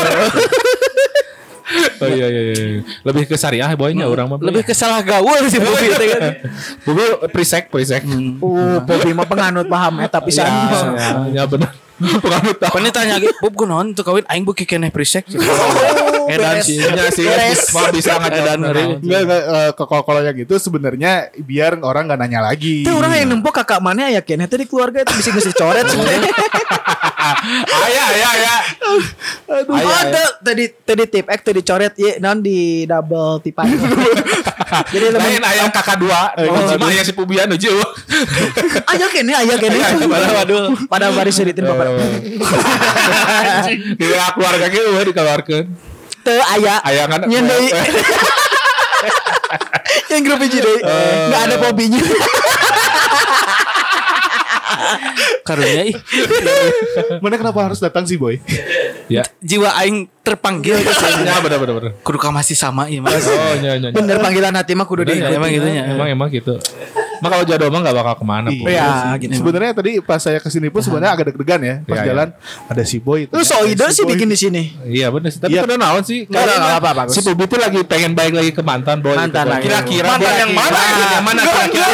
[SPEAKER 3] Oh iya iya iya. Lebih ke syariah boynya orang mah.
[SPEAKER 5] Hmm. Lebih ke salah gaul sih Bobi. teh kan.
[SPEAKER 3] Bobo prisek prisek.
[SPEAKER 5] Hmm.
[SPEAKER 3] Hmm.
[SPEAKER 4] Uh, Bobby mah Iya. penganut paham eta pisan.
[SPEAKER 3] Ya, ya benar. Penganut tahu.
[SPEAKER 5] Pani Iya. tanya ge, "Bob kunaon tuh kawin aing beuki keneh
[SPEAKER 4] [laughs]
[SPEAKER 5] prisek?"
[SPEAKER 3] Edan
[SPEAKER 4] beres.
[SPEAKER 3] sih, nya Iya sih
[SPEAKER 4] Beres.
[SPEAKER 3] mah bisa Iya, ngajarin dari.
[SPEAKER 2] Enggak, enggak eh, ke- kalau kalau yang gitu sebenarnya biar orang nggak nanya lagi.
[SPEAKER 4] Itu orang yang nempok kakak mana ya Ken? Itu di keluarga itu bisa ngasih
[SPEAKER 5] [laughs]
[SPEAKER 4] coret sebenarnya.
[SPEAKER 3] Ayah, ayah, ayah.
[SPEAKER 4] Aduh, ada tadi tadi tip ek tadi coret ya non di double tipan.
[SPEAKER 5] [laughs]
[SPEAKER 4] Jadi
[SPEAKER 3] Lain
[SPEAKER 4] lebih
[SPEAKER 3] ayah kakak dua.
[SPEAKER 5] Oh,
[SPEAKER 3] Uji mah ayah si Pubian oh, uji.
[SPEAKER 5] [laughs]
[SPEAKER 4] ayo Ken ya ayo Ken. Waduh, pada baris suritin
[SPEAKER 5] Eh.
[SPEAKER 4] bapak.
[SPEAKER 3] Di Iya, keluarga ke eueuh dikeluarkan.
[SPEAKER 4] Teu aya.
[SPEAKER 3] Aya kan-
[SPEAKER 4] Nyen deui.
[SPEAKER 5] Eh.
[SPEAKER 4] [laughs] Yang grup hiji deui.
[SPEAKER 5] Eh.
[SPEAKER 4] Enggak ada pobinya.
[SPEAKER 5] Karunya ih,
[SPEAKER 2] Mana kenapa harus datang sih, Boy?
[SPEAKER 3] Ya.
[SPEAKER 5] jiwa aing terpanggil ke sini.
[SPEAKER 3] Ya benar benar benar.
[SPEAKER 5] Kudu ka masih sama ieu mah.
[SPEAKER 3] Oh, nya nya. nya.
[SPEAKER 4] Bener panggilan hati mah kudu
[SPEAKER 3] Udah,
[SPEAKER 4] diikuti.
[SPEAKER 5] emang gitu.
[SPEAKER 3] Emang emang gitu. Mah kalau jodoh mah enggak bakal kemana pun.
[SPEAKER 4] Iya,
[SPEAKER 2] sih.
[SPEAKER 4] gitu.
[SPEAKER 2] Sebenarnya tadi pas saya kesini pun sebenarnya agak deg-degan ya pas
[SPEAKER 3] Iya, iya.
[SPEAKER 2] jalan ada si Boy.
[SPEAKER 4] Lu
[SPEAKER 2] ternyata
[SPEAKER 4] soido
[SPEAKER 2] ada si
[SPEAKER 4] sih
[SPEAKER 2] Boy.
[SPEAKER 4] bikin di sini.
[SPEAKER 3] Iya benar sih. Tapi
[SPEAKER 2] Iya.
[SPEAKER 3] kena naon sih?
[SPEAKER 4] Nggak, nggak, nggak apa-apa, bagus.
[SPEAKER 3] Si Bobi tuh lagi pengen balik lagi ke mantan boy.
[SPEAKER 4] Mantan lagi.
[SPEAKER 3] Kira-kira
[SPEAKER 5] Mantan
[SPEAKER 3] boy.
[SPEAKER 5] yang mana?
[SPEAKER 3] Yang mana? Kira-kira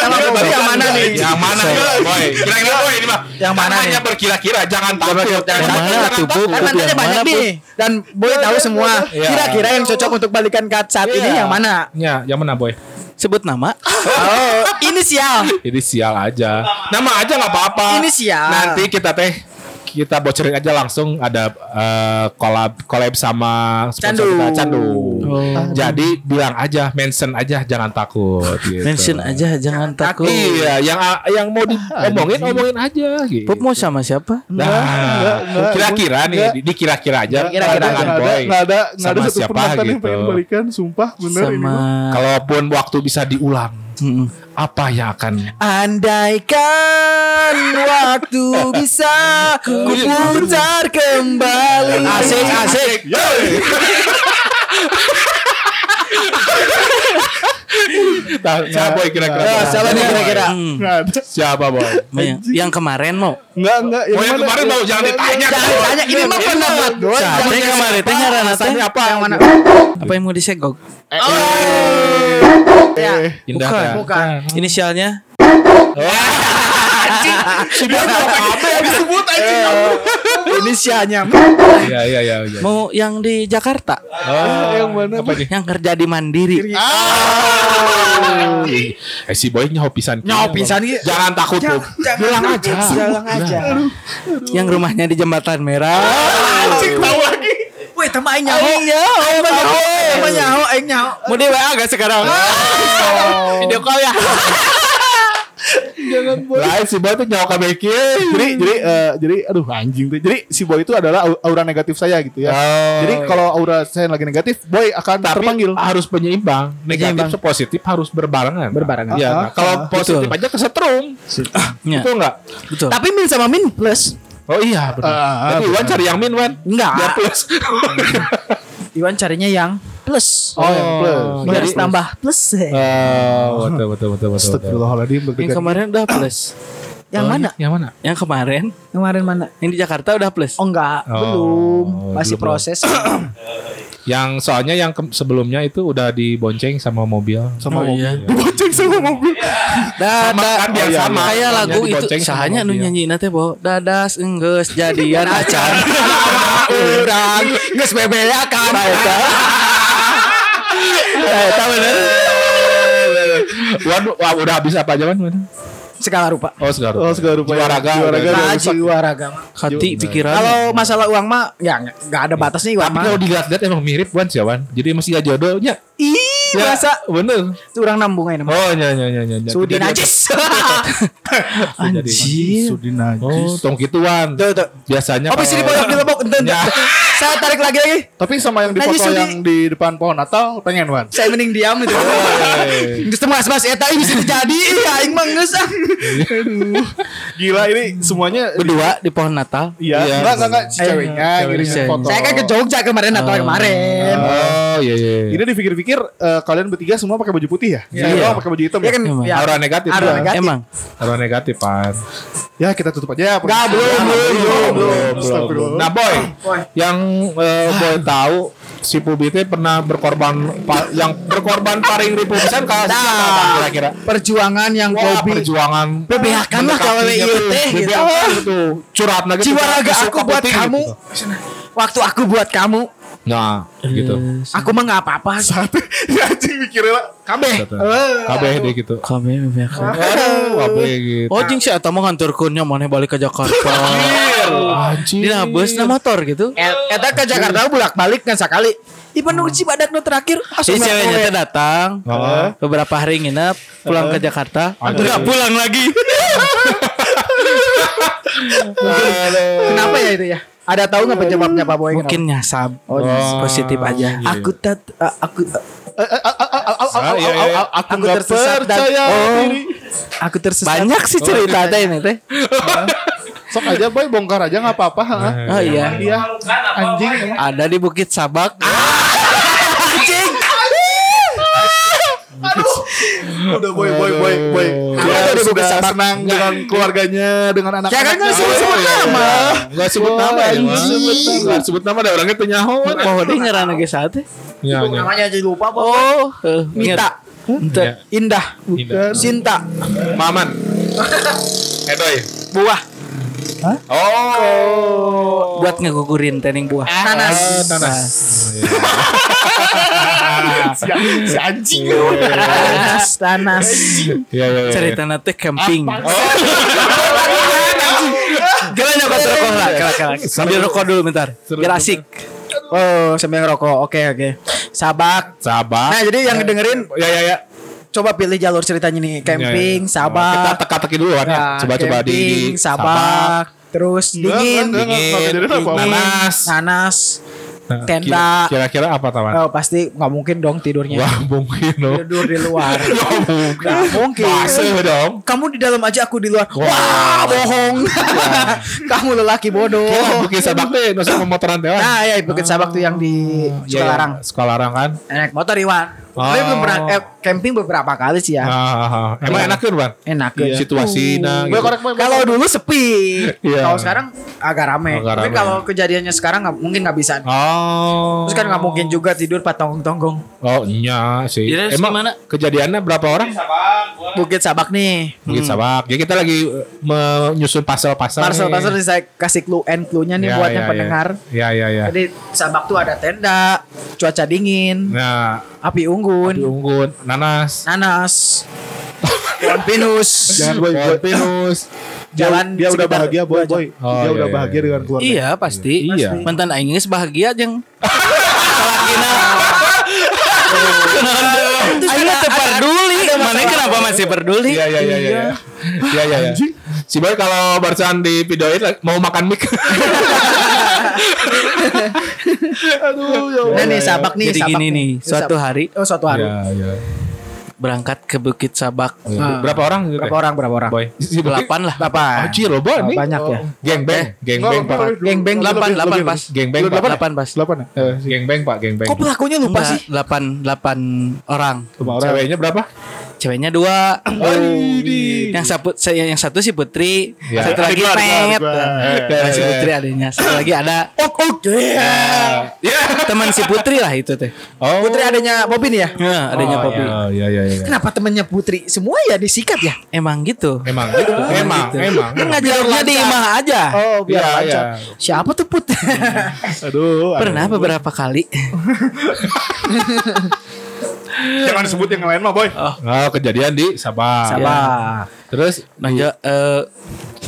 [SPEAKER 4] Sama Bobby yang mana nih?
[SPEAKER 3] Yang mana? Boy. Kira-kira boy ini mah.
[SPEAKER 4] Yang mana
[SPEAKER 3] Namanya berkira-kira jangan takut.
[SPEAKER 5] Yang
[SPEAKER 3] Jangan takut,
[SPEAKER 5] mana
[SPEAKER 3] jangan
[SPEAKER 5] tuh, Bu?
[SPEAKER 3] takut.
[SPEAKER 4] Kan mantannya banyak nih dan boy tahu semua.
[SPEAKER 3] Iya.
[SPEAKER 4] Kira-kira yang cocok untuk balikan ke saat ini
[SPEAKER 3] Iya.
[SPEAKER 4] yang mana?
[SPEAKER 3] Ya, yang mana boy?
[SPEAKER 5] Sebut nama.
[SPEAKER 4] Oh, inisial.
[SPEAKER 3] Ini sial aja. Nama aja nggak apa-apa.
[SPEAKER 4] Inisial.
[SPEAKER 3] Nanti kita teh kita bocorin aja langsung ada eh, collab collab sama sponsor
[SPEAKER 4] Candu.
[SPEAKER 3] kita Candu.
[SPEAKER 2] Oh.
[SPEAKER 3] Jadi bilang aja, mention aja jangan takut gitu.
[SPEAKER 5] Mention aja jangan takut.
[SPEAKER 3] Iya, yang yang mau
[SPEAKER 2] Ah,
[SPEAKER 3] diomongin omongin aja gitu.
[SPEAKER 5] Pup mau sama siapa?
[SPEAKER 3] Nah,
[SPEAKER 2] enggak,
[SPEAKER 3] kira-kira nih,
[SPEAKER 2] enggak.
[SPEAKER 3] di- dikira-kira aja.
[SPEAKER 2] Nggak ada,
[SPEAKER 3] pandangan
[SPEAKER 2] nggak ada,
[SPEAKER 3] Boy.
[SPEAKER 2] nggak ada, nggak ada
[SPEAKER 3] Sama
[SPEAKER 2] satu
[SPEAKER 3] siapa
[SPEAKER 2] penonton yang
[SPEAKER 3] gitu.
[SPEAKER 2] pengen balikan, sumpah bener ini.
[SPEAKER 5] sama
[SPEAKER 2] mah.
[SPEAKER 3] Kalaupun waktu bisa diulang, apa yang akan
[SPEAKER 2] [laughs]
[SPEAKER 4] Andaikan waktu bisa ku putar kembali.
[SPEAKER 5] Asik asik.
[SPEAKER 3] Nah, siapa boy kira-kira?
[SPEAKER 2] Nah,
[SPEAKER 3] siapa,
[SPEAKER 4] Salah nih kira-kira.
[SPEAKER 5] Hmm.
[SPEAKER 2] Nggak ada.
[SPEAKER 3] siapa [laughs] boy?
[SPEAKER 5] Yang, yang kemarin mau.
[SPEAKER 2] Enggak, enggak.
[SPEAKER 3] Oh, yang
[SPEAKER 2] mana?
[SPEAKER 3] kemarin mau, jangan
[SPEAKER 2] Enggak,
[SPEAKER 3] ditanya. kan?
[SPEAKER 2] enggak,
[SPEAKER 4] Jangan tanya Kan ini mah pendapat gue.
[SPEAKER 5] Nah, teh kemarin teh ngarana teh.
[SPEAKER 4] Alasannya apa? Yang mana?
[SPEAKER 5] Apa yang mau disegok?
[SPEAKER 2] enggak. Eh,
[SPEAKER 3] Indah.
[SPEAKER 5] Bukan.
[SPEAKER 3] ya?
[SPEAKER 4] Bukan.
[SPEAKER 5] Inisialnya?
[SPEAKER 4] Eh, Inisialnya.
[SPEAKER 3] Iya, iya, iya, iya.
[SPEAKER 5] Mau yang di Jakarta?
[SPEAKER 3] Ah,
[SPEAKER 2] yang mana?
[SPEAKER 3] Apa nih?
[SPEAKER 5] Yang kerja di Mandiri.
[SPEAKER 3] Eh si boy nyaho pisan. Nyaho pisan Jangan takut, Pup.
[SPEAKER 4] Bilang aja. Bilang aja.
[SPEAKER 5] Yang rumahnya di Jembatan Merah.
[SPEAKER 4] Weh, tambah aing nyaho. Iya, aing mah nyaho. Aing mah nyaho, aing nyaho.
[SPEAKER 5] Mau di WA gak sekarang? Video call ya.
[SPEAKER 3] Lain si boy tuh nyaho ka beki.
[SPEAKER 2] jadi jadi eh, jadi aduh anjing tuh. Jadi si boy itu adalah au- aura negatif saya gitu ya.
[SPEAKER 3] Oh.
[SPEAKER 2] Jadi kalau aura saya lagi negatif, boy akan
[SPEAKER 3] tapi
[SPEAKER 2] terpanggil.
[SPEAKER 3] harus penyeimbang negatif sama positif harus berbarengan berbarengan ya
[SPEAKER 2] Ah,
[SPEAKER 3] nah, kalau
[SPEAKER 2] ah,
[SPEAKER 3] positif
[SPEAKER 5] betul.
[SPEAKER 3] aja kesetrum
[SPEAKER 5] Ya,
[SPEAKER 3] betul nggak
[SPEAKER 5] betul.
[SPEAKER 4] Tapi min sama min plus.
[SPEAKER 3] oh iya benar
[SPEAKER 2] Ah, ah,
[SPEAKER 3] tapi Iwan
[SPEAKER 2] benar.
[SPEAKER 3] cari yang min Wan
[SPEAKER 4] Enggak.
[SPEAKER 3] biar plus
[SPEAKER 4] Ya, Iwan carinya yang plus.
[SPEAKER 2] Oh, yang plus.
[SPEAKER 3] Jadi-
[SPEAKER 4] Harus tambah plus. eh.
[SPEAKER 3] Oh, betul betul betul betul, betul.
[SPEAKER 2] Astagfirullahaladzim
[SPEAKER 5] Yang
[SPEAKER 2] bergegas.
[SPEAKER 5] kemarin udah plus.
[SPEAKER 4] Yang mana?
[SPEAKER 3] yang mana
[SPEAKER 5] Yang kemarin,
[SPEAKER 4] Kemarin mana?
[SPEAKER 5] yang di Jakarta udah plus.
[SPEAKER 4] Oh enggak,
[SPEAKER 3] Oh,
[SPEAKER 4] belum. Masih
[SPEAKER 3] belum.
[SPEAKER 4] proses.
[SPEAKER 3] yang soalnya yang ke- sebelumnya itu udah dibonceng sama mobil Iya.
[SPEAKER 2] Sama
[SPEAKER 5] Oh,
[SPEAKER 2] mobil.
[SPEAKER 5] iya.
[SPEAKER 2] Dibonceng sama mobil.
[SPEAKER 5] Da,
[SPEAKER 3] Sama
[SPEAKER 5] da,
[SPEAKER 3] kan, biar sama.
[SPEAKER 5] Kayak lagu
[SPEAKER 3] Yang
[SPEAKER 5] itu
[SPEAKER 3] diboceng sama
[SPEAKER 5] sahanya nu
[SPEAKER 3] mobil.
[SPEAKER 5] nyanyi nanti bo dadas enggeus jadian
[SPEAKER 4] [laughs]
[SPEAKER 5] acan
[SPEAKER 3] Ah,
[SPEAKER 4] Orang geus
[SPEAKER 3] ya, kan?
[SPEAKER 4] bebeakan.
[SPEAKER 5] Nah,
[SPEAKER 3] tahu bener Wan, wah, udah habis apa aja Wan? Wan?
[SPEAKER 4] Segala rupa.
[SPEAKER 3] Oh, segala
[SPEAKER 2] Oh, segala rupa.
[SPEAKER 3] Juaraga.
[SPEAKER 2] Juaraga.
[SPEAKER 3] udah.
[SPEAKER 2] Nah,
[SPEAKER 4] Nah, jiwa ragam.
[SPEAKER 5] hati pikiran.
[SPEAKER 4] Kalau masalah uang mah ya enggak enggak ada batasnya uang
[SPEAKER 3] Tapi
[SPEAKER 4] mah.
[SPEAKER 3] kalau dilihat-lihat emang mirip Wan sih Wan. Jadi masih gak jodohnya.
[SPEAKER 4] Ih,
[SPEAKER 5] Iya.
[SPEAKER 3] Ya,
[SPEAKER 4] masa
[SPEAKER 3] bener.
[SPEAKER 4] orang nambung aja mah.
[SPEAKER 3] Oh, nya nya nya nya. nya.
[SPEAKER 4] Sudi
[SPEAKER 3] Jadi-
[SPEAKER 4] [laughs] najis.
[SPEAKER 5] anjir.
[SPEAKER 2] Iya. Sudin aja.
[SPEAKER 3] Oh, tong kituan.
[SPEAKER 4] Tuh tuh. Oh,
[SPEAKER 3] Biasanya
[SPEAKER 4] bisa
[SPEAKER 3] kalau-
[SPEAKER 4] dipojok di lebok. Enten.
[SPEAKER 3] Ya.
[SPEAKER 4] Saya tarik lagi lagi.
[SPEAKER 2] Tapi sama yang di
[SPEAKER 4] Najis
[SPEAKER 2] foto
[SPEAKER 4] Sudi.
[SPEAKER 2] yang di depan pohon Natal pengen Wan.
[SPEAKER 4] Saya mending diam
[SPEAKER 3] Oh,
[SPEAKER 4] itu.
[SPEAKER 3] iya,
[SPEAKER 4] Geus teu mas eta ih bisa jadi Ih, aing mah geus ah.
[SPEAKER 2] Gila ini semuanya
[SPEAKER 5] Berdua di pohon Natal.
[SPEAKER 2] Iya,
[SPEAKER 3] Iya,
[SPEAKER 2] enggak enggak enggak si
[SPEAKER 4] Eh,
[SPEAKER 2] ceweknya ngirim
[SPEAKER 5] ceweknya.
[SPEAKER 2] foto.
[SPEAKER 4] Saya kan ke Jogja kemarin atau kemarin.
[SPEAKER 3] Oh, iya iya.
[SPEAKER 2] Ini dipikir-pikir eh, kalian bertiga semua pakai baju putih ya? Saya
[SPEAKER 5] Iya.
[SPEAKER 2] doang pakai baju hitam.
[SPEAKER 4] Ya
[SPEAKER 2] Ya,
[SPEAKER 4] kan
[SPEAKER 5] Emang.
[SPEAKER 4] ya.
[SPEAKER 3] Aura negatif.
[SPEAKER 4] Aura
[SPEAKER 3] Aura
[SPEAKER 4] negatif.
[SPEAKER 5] Emang
[SPEAKER 3] Aura negatif Pan.
[SPEAKER 2] ya kita tutup aja. ya,
[SPEAKER 4] Enggak, belum,
[SPEAKER 2] Ya,
[SPEAKER 4] belum, belum,
[SPEAKER 3] Belum, belum, belum.
[SPEAKER 2] Astagfirullah.
[SPEAKER 4] Ah,
[SPEAKER 3] Nah, Boy, yang eh, Boy tahu si Pubi itu pernah berkorban pa- yang berkorban paring republikan kalau
[SPEAKER 4] Nah.
[SPEAKER 3] kira-kira.
[SPEAKER 4] perjuangan yang
[SPEAKER 3] Wah,
[SPEAKER 4] hobi.
[SPEAKER 3] perjuangan
[SPEAKER 4] PBHK lah kalau
[SPEAKER 3] mendekatinya
[SPEAKER 4] WIUT
[SPEAKER 3] tuh.
[SPEAKER 4] gitu.
[SPEAKER 3] PBHK tuh curhat lagi
[SPEAKER 4] Jiwa raga
[SPEAKER 3] Suka
[SPEAKER 4] aku buat
[SPEAKER 3] putih
[SPEAKER 4] kamu.
[SPEAKER 3] gitu.
[SPEAKER 4] Waktu aku buat kamu,
[SPEAKER 3] Nah, gitu.
[SPEAKER 4] aku mah nggak apa-apa.
[SPEAKER 3] [laughs]
[SPEAKER 4] Eh.
[SPEAKER 2] Ya, anjing mikirin lah. Kabeh.
[SPEAKER 3] Kabeh deh gitu.
[SPEAKER 5] kami memihak.
[SPEAKER 3] Aduh, kabeh gitu.
[SPEAKER 5] Oh jing sih atau mau nganturkunnya mana balik ke Jakarta.
[SPEAKER 4] [laughs]
[SPEAKER 3] Anjir.
[SPEAKER 5] Di nabus na motor gitu.
[SPEAKER 4] Et- Eh, Eta ke Jakarta bolak balik kan sekali. Ipan nunggu Cibadak nu terakhir.
[SPEAKER 5] Si
[SPEAKER 4] asup
[SPEAKER 5] ceweknya
[SPEAKER 4] ngapoe.
[SPEAKER 5] teh datang
[SPEAKER 3] Heeh.
[SPEAKER 5] beberapa hari nginep pulang ke Jakarta.
[SPEAKER 3] Anjir.
[SPEAKER 5] Enggak pulang lagi.
[SPEAKER 4] Kenapa ya itu ya? Ada tahu nggak penyebabnya Pak Boy?
[SPEAKER 5] Mungkin Iya. nyasab.
[SPEAKER 4] Oh,
[SPEAKER 5] positif aja.
[SPEAKER 4] kenapa? aku tak eh, aku eh,
[SPEAKER 3] Ah, iya, iya.
[SPEAKER 2] Aku
[SPEAKER 4] Aku
[SPEAKER 2] nggak
[SPEAKER 4] tersesat dan-
[SPEAKER 2] percaya
[SPEAKER 4] Oh.
[SPEAKER 2] diri.
[SPEAKER 4] aku tersesat. Oh.
[SPEAKER 5] Banyak sih cerita teh ini teh.
[SPEAKER 2] Sok aja boy bongkar aja nggak apa-apa. ha.
[SPEAKER 5] Oh iya.
[SPEAKER 2] Iya.
[SPEAKER 6] Memalukan apa,
[SPEAKER 2] Anjing.
[SPEAKER 6] Boy?
[SPEAKER 5] Ada di Bukit Sabak.
[SPEAKER 2] Udah boy boy boy boy. Dia
[SPEAKER 4] Apa tuh dibuka
[SPEAKER 2] sudah
[SPEAKER 4] sabak?
[SPEAKER 2] senang dengan keluarganya, dengan anak-anak.
[SPEAKER 4] Ya kan
[SPEAKER 5] Iya.
[SPEAKER 4] nggak sih sebut nama.
[SPEAKER 3] Enggak sebut nama ya. Bang. Nggak sebut nama ada orangnya ya. tenyaho.
[SPEAKER 5] Mau deh ngerana ge sate.
[SPEAKER 3] Iya, iya.
[SPEAKER 4] Namanya jadi lupa Pak.
[SPEAKER 5] Oh, eh, ingat.
[SPEAKER 4] Mita,
[SPEAKER 5] Ente.
[SPEAKER 3] Iya.
[SPEAKER 4] Indah,
[SPEAKER 3] Indah.
[SPEAKER 4] Sinta,
[SPEAKER 3] Maman.
[SPEAKER 2] [laughs]
[SPEAKER 3] Eh, Edoy.
[SPEAKER 4] Eh, Buah,
[SPEAKER 3] Oh. Ah.
[SPEAKER 5] buat ngegugurin tening buah.
[SPEAKER 4] Nanas.
[SPEAKER 3] Nanas.
[SPEAKER 2] Si anjing.
[SPEAKER 4] Iya, Nanas, nanas.
[SPEAKER 3] Iya, iya, iya.
[SPEAKER 4] Ah,
[SPEAKER 5] Cerita nanti camping.
[SPEAKER 3] Oh.
[SPEAKER 5] Kalian nyoba rokok lah. Kalian Sambil rokok dulu bentar. Biar asik.
[SPEAKER 4] Oh, sambil ngerokok. Oke, oke. Sabak.
[SPEAKER 3] Sabah.
[SPEAKER 4] Nah, jadi yang dengerin
[SPEAKER 3] ya ya ya.
[SPEAKER 4] coba pilih jalur ceritanya nih. Camping,
[SPEAKER 3] Iya, Nah, Kita
[SPEAKER 4] sabak.
[SPEAKER 3] teka-teki dulu kan. ya.
[SPEAKER 4] Nah,
[SPEAKER 3] Coba-coba di
[SPEAKER 4] camping,
[SPEAKER 3] di-
[SPEAKER 4] sabak. Terus dingin,
[SPEAKER 2] Enggak, enggak, enggak, enggak kejadian Nah, apa-apa.
[SPEAKER 4] dingin,
[SPEAKER 3] Nanas.
[SPEAKER 4] nanas,
[SPEAKER 3] Nah,
[SPEAKER 4] tenda.
[SPEAKER 3] Kira-kira apa taman?
[SPEAKER 4] Oh, pasti nggak mungkin dong tidurnya.
[SPEAKER 3] Wah mungkin oh. dong.
[SPEAKER 4] Tidur di luar.
[SPEAKER 3] [laughs] Nggak mungkin.
[SPEAKER 4] Nggak mungkin.
[SPEAKER 3] Basah ya, dong.
[SPEAKER 4] Kamu di dalam aja aku di luar.
[SPEAKER 3] Wah.
[SPEAKER 4] Wah, iya. bohong. [laughs] Kamu lelaki bodoh.
[SPEAKER 3] Kira bukit sabak deh. Iya, Nusuk pemotoran teh.
[SPEAKER 4] Iya. Nah, ya Bukit Sabak tuh yang di Sukalarang.
[SPEAKER 3] Sekolarang kan.
[SPEAKER 4] iya, Eh, Naik motor Iwan.
[SPEAKER 3] Oh.
[SPEAKER 4] Tapi belum pernah eh, camping beberapa kali sih ya.
[SPEAKER 3] Ah, ah, ah. Emang enak kan Bang?
[SPEAKER 4] Enak.
[SPEAKER 3] Iya. Situasi nah
[SPEAKER 2] Gue
[SPEAKER 3] gitu.
[SPEAKER 2] korek Boy,
[SPEAKER 4] Kalau dulu sepi.
[SPEAKER 3] Iya.
[SPEAKER 4] Kalau sekarang agak rame.
[SPEAKER 3] Agak
[SPEAKER 4] Tapi
[SPEAKER 3] rame.
[SPEAKER 4] kalau kejadiannya sekarang nggak mungkin nggak bisa.
[SPEAKER 3] Oh.
[SPEAKER 4] Terus kan nggak mungkin juga tidur pak tonggong-tonggong.
[SPEAKER 3] Oh, iya sih.
[SPEAKER 5] Jadi
[SPEAKER 3] Emang
[SPEAKER 5] gimana?
[SPEAKER 3] kejadiannya berapa orang?
[SPEAKER 4] Bukit Sabak nih.
[SPEAKER 3] Bukit Sabak. Ya kita lagi eh, menyusun pasal-pasal.
[SPEAKER 4] Parcel-parcel nih saya kasih clue and clue-nya nih
[SPEAKER 3] Ya,
[SPEAKER 4] buat
[SPEAKER 3] ya,
[SPEAKER 4] yang
[SPEAKER 3] ya.
[SPEAKER 4] pendengar.
[SPEAKER 3] Ya ya ya.
[SPEAKER 4] Jadi Sabak tuh ada tenda, cuaca dingin,
[SPEAKER 3] Nah,
[SPEAKER 4] api unggun,
[SPEAKER 3] di Unggun, nanas,
[SPEAKER 4] nanas, pohon pinus.
[SPEAKER 2] Jangan boy,
[SPEAKER 4] Iya.
[SPEAKER 3] pohon
[SPEAKER 2] boy.
[SPEAKER 3] pinus.
[SPEAKER 4] Jalan
[SPEAKER 2] dia udah
[SPEAKER 4] sekitar
[SPEAKER 2] bahagia boy,
[SPEAKER 4] dua jam.
[SPEAKER 2] boy.
[SPEAKER 3] Oh,
[SPEAKER 2] dia
[SPEAKER 3] iya,
[SPEAKER 2] udah
[SPEAKER 3] iya,
[SPEAKER 2] bahagia
[SPEAKER 3] iya.
[SPEAKER 2] dengan keluarga.
[SPEAKER 5] Iya pasti.
[SPEAKER 3] Iya.
[SPEAKER 5] Pasti. Mantan aing geus bahagia jeung. Salakina. Aing mah teu peduli. Mana kenapa masih peduli?
[SPEAKER 3] Iya iya iya iya. Iya iya. iya, iya. Si Boy kalau Barcan di videoin like, mau makan mic.
[SPEAKER 2] Aduh, ya Allah.
[SPEAKER 4] Dan nih Sabak nih,
[SPEAKER 5] Iya, Jadi
[SPEAKER 4] Sabak
[SPEAKER 5] gini nih, suatu
[SPEAKER 4] Sabak.
[SPEAKER 5] hari
[SPEAKER 4] Oh, suatu hari.
[SPEAKER 3] Iya iya.
[SPEAKER 5] berangkat ke Bukit Sabak. Nah,
[SPEAKER 3] Berapa orang gitu?
[SPEAKER 4] Ah. Berapa orang? Berapa orang?
[SPEAKER 3] Boy. Si Boy.
[SPEAKER 5] Delapan lah.
[SPEAKER 4] Delapan.
[SPEAKER 3] Oh, Ci, loba
[SPEAKER 4] Oh,
[SPEAKER 3] nih.
[SPEAKER 4] banyak ya.
[SPEAKER 3] Geng
[SPEAKER 2] Enggak,
[SPEAKER 3] bang, geng
[SPEAKER 2] enggak,
[SPEAKER 3] bang pak.
[SPEAKER 2] enggak,
[SPEAKER 4] Geng beng,
[SPEAKER 2] lebih,
[SPEAKER 5] Delapan,
[SPEAKER 2] lebih,
[SPEAKER 5] delapan
[SPEAKER 2] lebih.
[SPEAKER 5] pas.
[SPEAKER 3] Geng bang pak.
[SPEAKER 5] Delapan pas.
[SPEAKER 2] Delapan ya? Eh, sih.
[SPEAKER 3] Geng bang pak, geng bang.
[SPEAKER 4] Kok pelakunya lupa
[SPEAKER 5] Enggak,
[SPEAKER 4] sih?
[SPEAKER 5] Delapan, delapan orang.
[SPEAKER 2] Cuma orang.
[SPEAKER 3] Ceweknya berapa?
[SPEAKER 5] Ceweknya dua.
[SPEAKER 2] Aidi.
[SPEAKER 5] yang satu saya yang satu si Putri,
[SPEAKER 3] Ya.
[SPEAKER 5] satu lagi
[SPEAKER 2] Keluar, keluar,
[SPEAKER 4] Eh,
[SPEAKER 5] Pet.
[SPEAKER 3] keluar.
[SPEAKER 5] Nah, si Putri adanya. Satu lagi ada
[SPEAKER 4] Oh, oh, yeah.
[SPEAKER 5] teman si Putri lah Nah, itu teh.
[SPEAKER 3] Oh.
[SPEAKER 4] Putri adanya Bobby nih ya?
[SPEAKER 5] Nah, adanya
[SPEAKER 3] Oh,
[SPEAKER 5] Poppy.
[SPEAKER 3] Iya iya iya. iya.
[SPEAKER 4] Kenapa temennya Putri semua ya disikat ya?
[SPEAKER 5] Emang gitu.
[SPEAKER 3] Emang gitu. Emang, emang.
[SPEAKER 5] Kan ngajarnya di imah aja.
[SPEAKER 4] Oh, biar
[SPEAKER 3] Iya,
[SPEAKER 4] lancar.
[SPEAKER 3] iya.
[SPEAKER 4] Siapa tuh
[SPEAKER 5] [laughs]
[SPEAKER 4] Put?
[SPEAKER 2] Aduh.
[SPEAKER 5] Pernah beberapa kali.
[SPEAKER 2] Jangan disebut yang lain mah boy.
[SPEAKER 3] Oh, kejadian di Sabah. Iya.
[SPEAKER 4] Sabah.
[SPEAKER 3] Terus
[SPEAKER 5] Nah, ja- eh,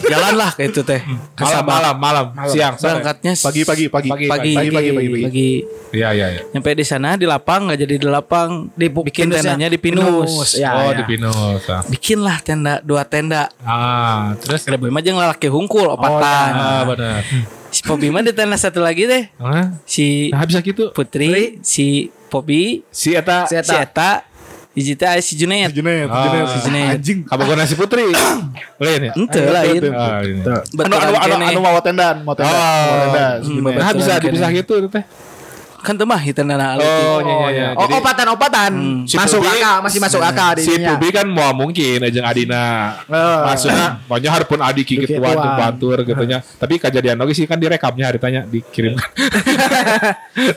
[SPEAKER 5] jalan lah kayak itu teh. Ke
[SPEAKER 3] malam,
[SPEAKER 5] Sabah.
[SPEAKER 3] malam, malam, siang, sore.
[SPEAKER 5] Berangkatnya s-
[SPEAKER 2] Hmm. Pagi pagi pagi.
[SPEAKER 3] Pagi,
[SPEAKER 5] pagi
[SPEAKER 2] pagi, pagi, pagi, pagi.
[SPEAKER 5] pagi.
[SPEAKER 3] Iya, iya, iya.
[SPEAKER 5] Nyampe di sana di lapang nggak jadi di lapang, di bikin
[SPEAKER 4] Pinusnya.
[SPEAKER 5] tendanya di pinus.
[SPEAKER 4] Ya,
[SPEAKER 3] oh,
[SPEAKER 4] ya.
[SPEAKER 3] di Pinus. Ah,
[SPEAKER 5] Bikinlah tenda dua tenda.
[SPEAKER 3] Ah, terus
[SPEAKER 5] Ada Boy mah jeung lalaki hungkul
[SPEAKER 4] Oh,
[SPEAKER 5] opatan.
[SPEAKER 3] Ah, benar.
[SPEAKER 4] iya.
[SPEAKER 5] Si Pobi mah di tenda satu lagi deh.
[SPEAKER 3] Hah?
[SPEAKER 5] Si
[SPEAKER 3] Nah, habis gitu
[SPEAKER 5] Putri, si Pobi,
[SPEAKER 3] si eta
[SPEAKER 5] si Eta, si Jita, si Junet.
[SPEAKER 2] Sejenet,
[SPEAKER 3] Ah.
[SPEAKER 2] sejenet,
[SPEAKER 5] Sejenet.
[SPEAKER 2] Anjing.
[SPEAKER 3] kabogona si Putri. Lain ya?
[SPEAKER 5] Ente lah
[SPEAKER 2] Ayo,
[SPEAKER 5] itu.
[SPEAKER 2] tuh,
[SPEAKER 3] Ah, ini.
[SPEAKER 2] tuh. Anu
[SPEAKER 5] Betulan
[SPEAKER 2] anu anu
[SPEAKER 5] kene.
[SPEAKER 2] anu mau tendan, mau tendan, mau tendan. sejenet.
[SPEAKER 3] Nah, bisa
[SPEAKER 5] Kebetulan
[SPEAKER 3] dipisah
[SPEAKER 5] kene.
[SPEAKER 3] gitu itu teh.
[SPEAKER 5] Kan temah hitam nana
[SPEAKER 3] Oh, iya iya iya.
[SPEAKER 4] Oh,
[SPEAKER 3] Jadi,
[SPEAKER 4] opatan-opatan.
[SPEAKER 3] Si
[SPEAKER 4] masuk
[SPEAKER 3] Putri-
[SPEAKER 4] akal, masih masuk akal di
[SPEAKER 3] si
[SPEAKER 4] ininya.
[SPEAKER 3] Pubi kan mau mungkin aja Adina. Maksudnya pokoknya harpun adik
[SPEAKER 2] Dikit
[SPEAKER 3] gitu tuan
[SPEAKER 2] tuan.
[SPEAKER 3] batur gitu nya. Tapi kejadian lagi sih kan direkamnya haritanya dikirimkan.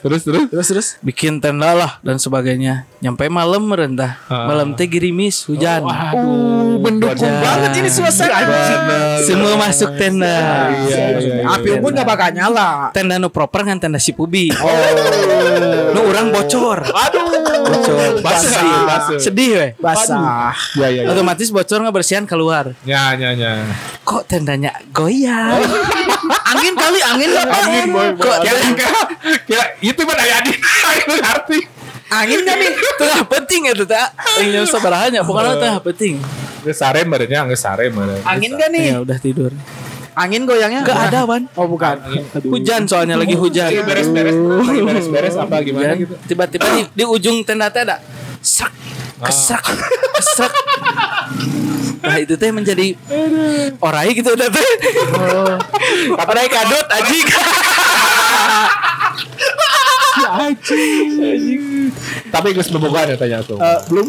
[SPEAKER 3] terus terus.
[SPEAKER 4] Terus terus
[SPEAKER 5] bikin tenda lah dan sebagainya. Nyampe malam merendah.
[SPEAKER 3] Ah.
[SPEAKER 5] Malam teh gerimis hujan.
[SPEAKER 3] Uh,
[SPEAKER 5] mendukung banget ini
[SPEAKER 2] Anjing.
[SPEAKER 5] Semua masuk tenda.
[SPEAKER 3] Iya, iya, iya.
[SPEAKER 4] api unggun gak bakal nyala.
[SPEAKER 5] Tenda nu proper kan tenda si Pubi. Oh. nu orang bocor.
[SPEAKER 2] Aduh.
[SPEAKER 5] Bocor.
[SPEAKER 3] Basah,
[SPEAKER 5] Sedih.
[SPEAKER 3] basah.
[SPEAKER 5] Sedih weh.
[SPEAKER 4] Basah.
[SPEAKER 3] Ya ya ya.
[SPEAKER 5] Otomatis bocor nggak bersihan keluar.
[SPEAKER 3] Ya ya ya.
[SPEAKER 5] Kok tendanya goyang? Oh. [laughs] angin kali angin.
[SPEAKER 2] Angin boy. boy.
[SPEAKER 3] Kira kira kira itu kan mah dari Adina itu arti.
[SPEAKER 5] angin kan nih [laughs] tengah penting itu tak yang sabarahnya pokoknya tengah penting
[SPEAKER 3] Geus sare merenya geus sare mere.
[SPEAKER 4] Angin gak nih?
[SPEAKER 5] ya udah tidur
[SPEAKER 4] Kan, Angin goyangnya?
[SPEAKER 5] nggak ada wan
[SPEAKER 4] Oh, bukan.
[SPEAKER 5] hujan soalnya lagi
[SPEAKER 3] Lagi
[SPEAKER 5] hujan
[SPEAKER 3] beres-beres, lagi beres-beres apa gimana
[SPEAKER 5] Hujan.
[SPEAKER 3] gitu.
[SPEAKER 5] tiba-tiba di, di ujung tenda teh ada serak keserak keserak nah itu teh menjadi orai gitu udah teh
[SPEAKER 4] Oh.
[SPEAKER 5] orai kadut aji
[SPEAKER 4] [laughs]
[SPEAKER 3] Tapi geus bobogohan ya tanya aku.
[SPEAKER 4] Eh, belum.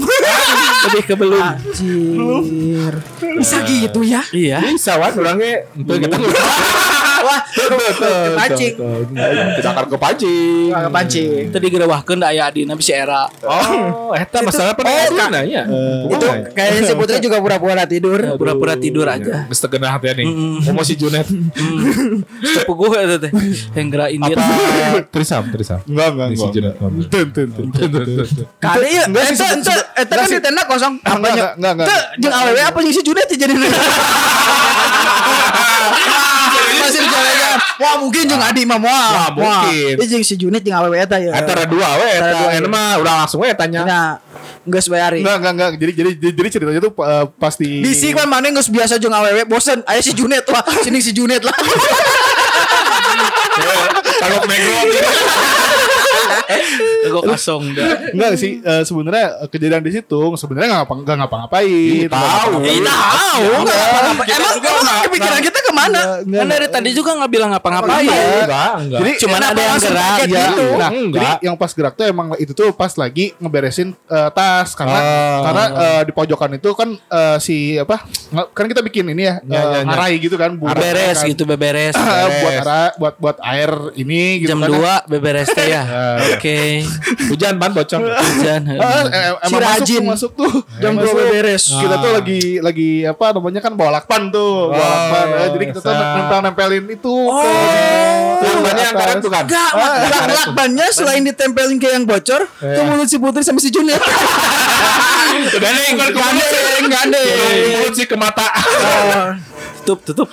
[SPEAKER 5] lebih ke belum
[SPEAKER 4] Anjir. Bisa gitu ya?
[SPEAKER 5] iya
[SPEAKER 3] Bisa wan orangnya untuk kita
[SPEAKER 4] Wah,
[SPEAKER 3] kepancing.
[SPEAKER 4] kepancing.
[SPEAKER 3] Kita akan kepancing.
[SPEAKER 4] Nggak kepancing.
[SPEAKER 5] tadi gerewahkeun da aya Adina bisa era
[SPEAKER 3] Oh, eta masalah apa? Oh, nanya.
[SPEAKER 4] Itu kayaknya si Putri juga pura-pura tidur.
[SPEAKER 5] pura-pura tidur
[SPEAKER 3] ya.
[SPEAKER 5] aja
[SPEAKER 3] Geus tegenah teh nih. Mau si Junet.
[SPEAKER 5] sepupu gue itu ya teh yang gerain dia
[SPEAKER 3] Nah, Trisam, Trisam.
[SPEAKER 2] Enggak, enggak,
[SPEAKER 3] Ini si
[SPEAKER 2] enggak.
[SPEAKER 3] Junet.
[SPEAKER 2] Tun, tun, tun.
[SPEAKER 4] Kali ya,
[SPEAKER 2] Enggak sih,
[SPEAKER 4] itu
[SPEAKER 2] sebe-
[SPEAKER 4] itu itu kan di tenda kosong.
[SPEAKER 2] Enggak,
[SPEAKER 4] Apanya?
[SPEAKER 2] enggak, enggak, enggak.
[SPEAKER 4] Itu jeung awewe apa jeung si Junet jadi. Wah mungkin jeung Adi mah wah.
[SPEAKER 3] Wah, mungkin.
[SPEAKER 4] Wah, Ieu jeung si Junit jeung awewe eta ya.
[SPEAKER 3] Antara dua we
[SPEAKER 4] Antara
[SPEAKER 3] eta
[SPEAKER 4] dua,
[SPEAKER 3] anu
[SPEAKER 4] iya.
[SPEAKER 3] mah udah langsung we tanya.
[SPEAKER 4] Nya geus bae ari.
[SPEAKER 2] Enggak, enggak, enggak. Jadi jadi jadi ceritanya tuh eh, pasti
[SPEAKER 4] Bisi kan mana geus biasa jeung awewe bosen. Aya si Junet wah, sini si Junet lah.
[SPEAKER 3] Kalau [laughs] background
[SPEAKER 5] Gue kosong dah.
[SPEAKER 2] Enggak sih eh, sebenarnya eh, kejadian di situ sebenarnya enggak ngapa enggak ngapa-ngapain.
[SPEAKER 3] tahu.
[SPEAKER 5] Iya.
[SPEAKER 4] Kita tahu enggak apa-apa.
[SPEAKER 3] Kita
[SPEAKER 4] Emang
[SPEAKER 3] juga
[SPEAKER 4] emang
[SPEAKER 3] enggak-
[SPEAKER 4] kepikiran kita kemana?
[SPEAKER 2] Enggak,
[SPEAKER 5] Kan dari
[SPEAKER 2] enggak.
[SPEAKER 5] tadi juga nggak bilang
[SPEAKER 2] Iya.
[SPEAKER 5] ngapa-ngapain.
[SPEAKER 3] Enggak, enggak.
[SPEAKER 2] Jadi
[SPEAKER 5] Cuman
[SPEAKER 4] kenapa
[SPEAKER 5] ada yang
[SPEAKER 4] langsung
[SPEAKER 5] gerak
[SPEAKER 4] kaget
[SPEAKER 5] ya.
[SPEAKER 4] gitu?
[SPEAKER 2] Iya, nah,
[SPEAKER 3] Enggak.
[SPEAKER 2] jadi yang pas gerak tuh emang itu tuh pas lagi ngeberesin eh, tas karena
[SPEAKER 3] Oh.
[SPEAKER 2] karena eh, di pojokan itu kan eh, si apa nge- kan kita bikin ini ya,
[SPEAKER 3] Ya,
[SPEAKER 2] eh,
[SPEAKER 3] ya, ya.
[SPEAKER 2] ngarai gitu kan buat
[SPEAKER 5] Beberes
[SPEAKER 2] kan.
[SPEAKER 5] gitu beberes.
[SPEAKER 2] Eh, [laughs] buat ara- buat buat air ini gitu
[SPEAKER 5] Jam
[SPEAKER 2] kan.
[SPEAKER 5] 2 beberes teh ya. Oke.
[SPEAKER 3] hujan ban bocor.
[SPEAKER 5] Hujan.
[SPEAKER 2] Eh, eh, emang
[SPEAKER 4] Si
[SPEAKER 2] masuk
[SPEAKER 4] Rajin.
[SPEAKER 2] tuh, masuk tuh
[SPEAKER 4] Jam
[SPEAKER 2] Masuk.
[SPEAKER 4] 2 beberes.
[SPEAKER 2] kita tuh lagi lagi apa namanya kan bawa lakpan tuh bawa
[SPEAKER 3] Oh,
[SPEAKER 2] lakpan Eh, jadi kita tuh
[SPEAKER 3] bisa.
[SPEAKER 2] nempel nempelin itu
[SPEAKER 3] Bannya yang karet bukan?
[SPEAKER 4] Enggak, lakbannya selain ditempelin ke yang bocor, ke mulut si Putri sama si Junet.
[SPEAKER 3] Gandeng, Iya,
[SPEAKER 4] Gandeng, gandeng.
[SPEAKER 3] Mulut sih ke mata.
[SPEAKER 5] Tutup tutup.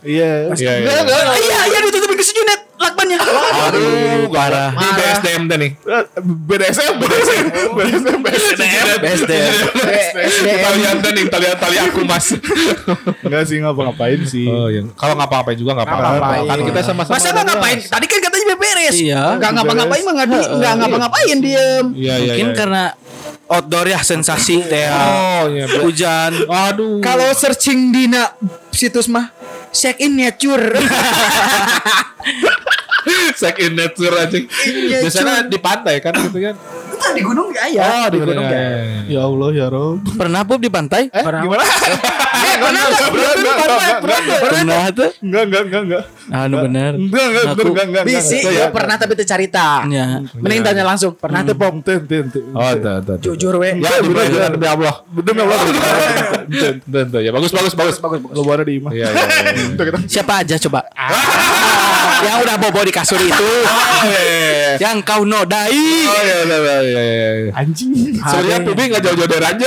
[SPEAKER 2] iya [laughs]
[SPEAKER 3] Iya, iya.
[SPEAKER 2] Enggak, enggak.
[SPEAKER 4] Iya, iya ditutupin ke si Junet lakbannya.
[SPEAKER 3] Aduh, parah. Ini BSDM deh nih.
[SPEAKER 2] Eh, BDSM BDSM BDSM BDSM
[SPEAKER 5] BSDM.
[SPEAKER 3] Talian dan nih, talian tali aku mas.
[SPEAKER 2] Enggak sih ngapa-ngapain sih
[SPEAKER 3] Oh, iya. Kalau ngapa-ngapain juga nggak apa-apa.
[SPEAKER 2] Ngapa-ngapain.
[SPEAKER 3] Kan kita sama-sama.
[SPEAKER 4] Masa nggak ngapain? Tadi kan katanya beberes.
[SPEAKER 5] Iya.
[SPEAKER 4] Nggak ngapa-ngapain mah nggak di- nggak ngapa-ngapain diem.
[SPEAKER 3] Iya, iya.
[SPEAKER 5] Mungkin
[SPEAKER 3] iya.
[SPEAKER 5] karena outdoor ya sensasi teh.
[SPEAKER 3] Oh, iya.
[SPEAKER 5] Hujan.
[SPEAKER 3] Aduh.
[SPEAKER 4] Kalau searching dina situs mah check in nature.
[SPEAKER 3] Sek in nature anjing.
[SPEAKER 4] nature.
[SPEAKER 3] Biasanya di pantai kan gitu kan.
[SPEAKER 4] Kan di gunung nggak ya?
[SPEAKER 3] Oh, di gunung ya.
[SPEAKER 2] ya Allah ya Rob
[SPEAKER 5] Pernah pub di pantai?
[SPEAKER 2] eh gimana
[SPEAKER 4] Eh, pernah nggak?
[SPEAKER 2] Enggak, enggak, enggak,
[SPEAKER 4] Pernah,
[SPEAKER 2] enggak,
[SPEAKER 4] pernah,
[SPEAKER 2] enggak.
[SPEAKER 4] pernah.
[SPEAKER 5] Pernah tuh.
[SPEAKER 2] enggak enggak enggak enggak
[SPEAKER 5] Anu bener.
[SPEAKER 2] enggak enggak
[SPEAKER 5] Aku-
[SPEAKER 2] enggak enggak
[SPEAKER 4] Bisi, ya pernah tapi tercarita.
[SPEAKER 5] Ya.
[SPEAKER 3] Iya.
[SPEAKER 4] Mending tanya langsung. Pernah tuh pom.
[SPEAKER 2] ten ten ten
[SPEAKER 3] Oh, tuh, tuh, tuh.
[SPEAKER 4] Jujur we.
[SPEAKER 3] Ya, demi Allah, demi Allah.
[SPEAKER 2] demi Allah
[SPEAKER 3] Tuh, tuh, tuh. Ya, bagus, bagus, bagus, bagus.
[SPEAKER 2] lo baru di imah
[SPEAKER 3] Iya, iya, iya.
[SPEAKER 2] Tuh, kita-
[SPEAKER 5] Siapa aja coba?
[SPEAKER 4] Ah.
[SPEAKER 5] [laughs] yang udah bobo di kasur itu,
[SPEAKER 3] [laughs] Oh, iya, iya, iya.
[SPEAKER 5] yang kau nodai.
[SPEAKER 3] Oh, iya, iya, iya, iya, iya.
[SPEAKER 2] anjing
[SPEAKER 3] Sebenarnya Pipi nggak jauh-jauh dari aja.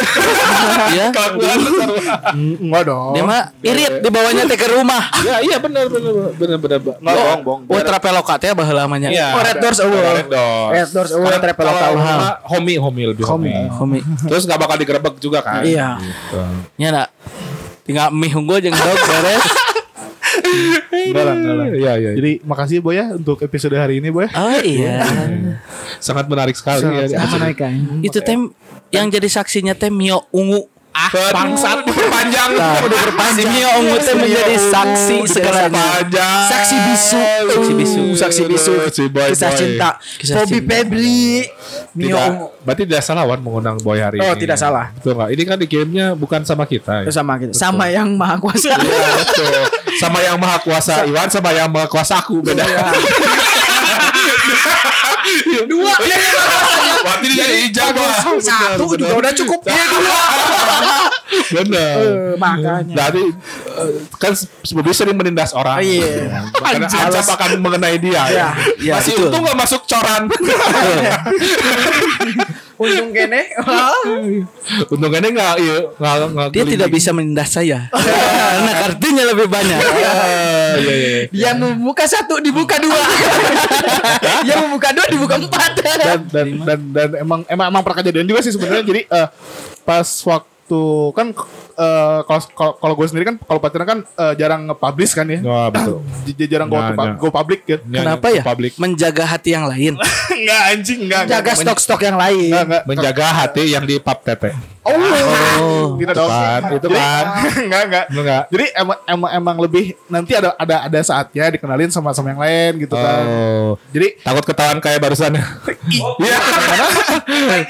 [SPEAKER 3] [laughs]
[SPEAKER 5] Iya.
[SPEAKER 3] Kelakuan lu seru.
[SPEAKER 2] enggak dong
[SPEAKER 5] Dia mah irit dibawanya teh ke rumah.
[SPEAKER 3] Ya, iya benar benar benar benar.
[SPEAKER 2] enggak bohong bohong
[SPEAKER 5] Oh traveloka teh bah lamanya.
[SPEAKER 3] Iya.
[SPEAKER 4] Oh, Red Doors awal.
[SPEAKER 3] Red Doors.
[SPEAKER 4] Red Doors awal
[SPEAKER 3] Kalau-
[SPEAKER 4] Traveloka
[SPEAKER 3] kalau
[SPEAKER 4] awal.
[SPEAKER 3] rumah, Homie, homie lebih homie.
[SPEAKER 5] Komi.
[SPEAKER 3] Terus nggak bakal digerebek juga kan?
[SPEAKER 4] Iya.
[SPEAKER 3] Gitu.
[SPEAKER 5] Nya da. Tinggal mie unggul jeung
[SPEAKER 4] [laughs]
[SPEAKER 5] dog beres.
[SPEAKER 2] enggak lah enggak Ah, lah
[SPEAKER 3] Iya, iya. Jadi
[SPEAKER 2] jadi makasih boy ya untuk episode hari ini boy
[SPEAKER 5] Oh iya.
[SPEAKER 3] sangat menarik sekali.
[SPEAKER 2] Sangat-
[SPEAKER 3] ya.
[SPEAKER 4] Apa naik kan?
[SPEAKER 5] Itu teh
[SPEAKER 3] Iya.
[SPEAKER 5] yang jadi saksinya teh Mio ungu. Ah,
[SPEAKER 3] Bangsat diperpanjang.
[SPEAKER 4] Nah.
[SPEAKER 5] Si Mio ungu teh menjadi saksi segalanya.
[SPEAKER 3] Panjang.
[SPEAKER 4] Saksi bisu.
[SPEAKER 5] Saksi bisu.
[SPEAKER 4] Saksi bisu.
[SPEAKER 3] Si boy,
[SPEAKER 4] Kisah
[SPEAKER 3] boy.
[SPEAKER 4] cinta.
[SPEAKER 5] Kisah
[SPEAKER 4] Bobby
[SPEAKER 5] cinta.
[SPEAKER 4] Pebli. Mio
[SPEAKER 3] Tidak,
[SPEAKER 4] Ungu.
[SPEAKER 3] berarti tidak salah Wan mengundang Boy hari ini.
[SPEAKER 4] Oh, tidak salah.
[SPEAKER 3] Betul nggak? Ini kan dikirimnya bukan sama kita. ya?
[SPEAKER 4] Itu sama gitu. Sama yang maha kuasa.
[SPEAKER 3] Iya, betul. Sama yang maha kuasa Iwan sama yang maha kuasa aku beda.
[SPEAKER 4] Iya.
[SPEAKER 3] Dua. Iya. Berarti dia jadi ijab lah.
[SPEAKER 4] Satu
[SPEAKER 3] Benar,
[SPEAKER 4] juga udah cukup. Iya dua.
[SPEAKER 3] Benar.
[SPEAKER 4] Eh, Makanya.
[SPEAKER 3] Dari eh, kan sebelumnya sering menindas orang.
[SPEAKER 4] Oh, iya.
[SPEAKER 3] Karena azab akan mengenai dia. ya.
[SPEAKER 4] Iya,
[SPEAKER 5] iya,
[SPEAKER 3] Masih
[SPEAKER 5] betul.
[SPEAKER 3] untung gak masuk coran.
[SPEAKER 4] Untung kene.
[SPEAKER 3] Untungnya gak, iya, gak, gak
[SPEAKER 5] Dia tidak
[SPEAKER 3] gelinding.
[SPEAKER 5] bisa menindas
[SPEAKER 4] [laughs]
[SPEAKER 5] saya. Karena kartunya lebih banyak.
[SPEAKER 3] Eh, Iya, iya.
[SPEAKER 4] Yang membuka satu dibuka
[SPEAKER 3] [laughs]
[SPEAKER 4] dua. [laughs] Yang membuka dua dibuka empat.
[SPEAKER 2] dan dan dan dan emang emang emang pernah kejadian juga sih sebenarnya jadi eh, pas waktu kan eh, kalau kalau- kalau gue sendiri kan kalau pacaran kan eh, jarang nge-publish kan ya
[SPEAKER 3] Wah, betul.
[SPEAKER 2] J- j- jarang gue
[SPEAKER 3] Nah, nah.
[SPEAKER 2] go public kan
[SPEAKER 5] Kenapa ya?
[SPEAKER 3] Publik.
[SPEAKER 5] Menjaga hati yang [laughs] lain.
[SPEAKER 2] enggak anjing enggak
[SPEAKER 4] Jaga stok-stok yang lain.
[SPEAKER 2] enggak enggak
[SPEAKER 3] Menjaga hati yang di pap tete.
[SPEAKER 2] oh, tidak dong
[SPEAKER 3] Kan, itu
[SPEAKER 2] Jadi-
[SPEAKER 3] kan.
[SPEAKER 2] [laughs] enggak enggak
[SPEAKER 3] Enggak.
[SPEAKER 2] jadi emang emang emang lebih nanti ada ada ada saatnya dikenalin sama sama yang lain gitu kan
[SPEAKER 3] Oh.
[SPEAKER 2] jadi
[SPEAKER 3] Takut ketahuan kayak barusan.
[SPEAKER 6] Iya.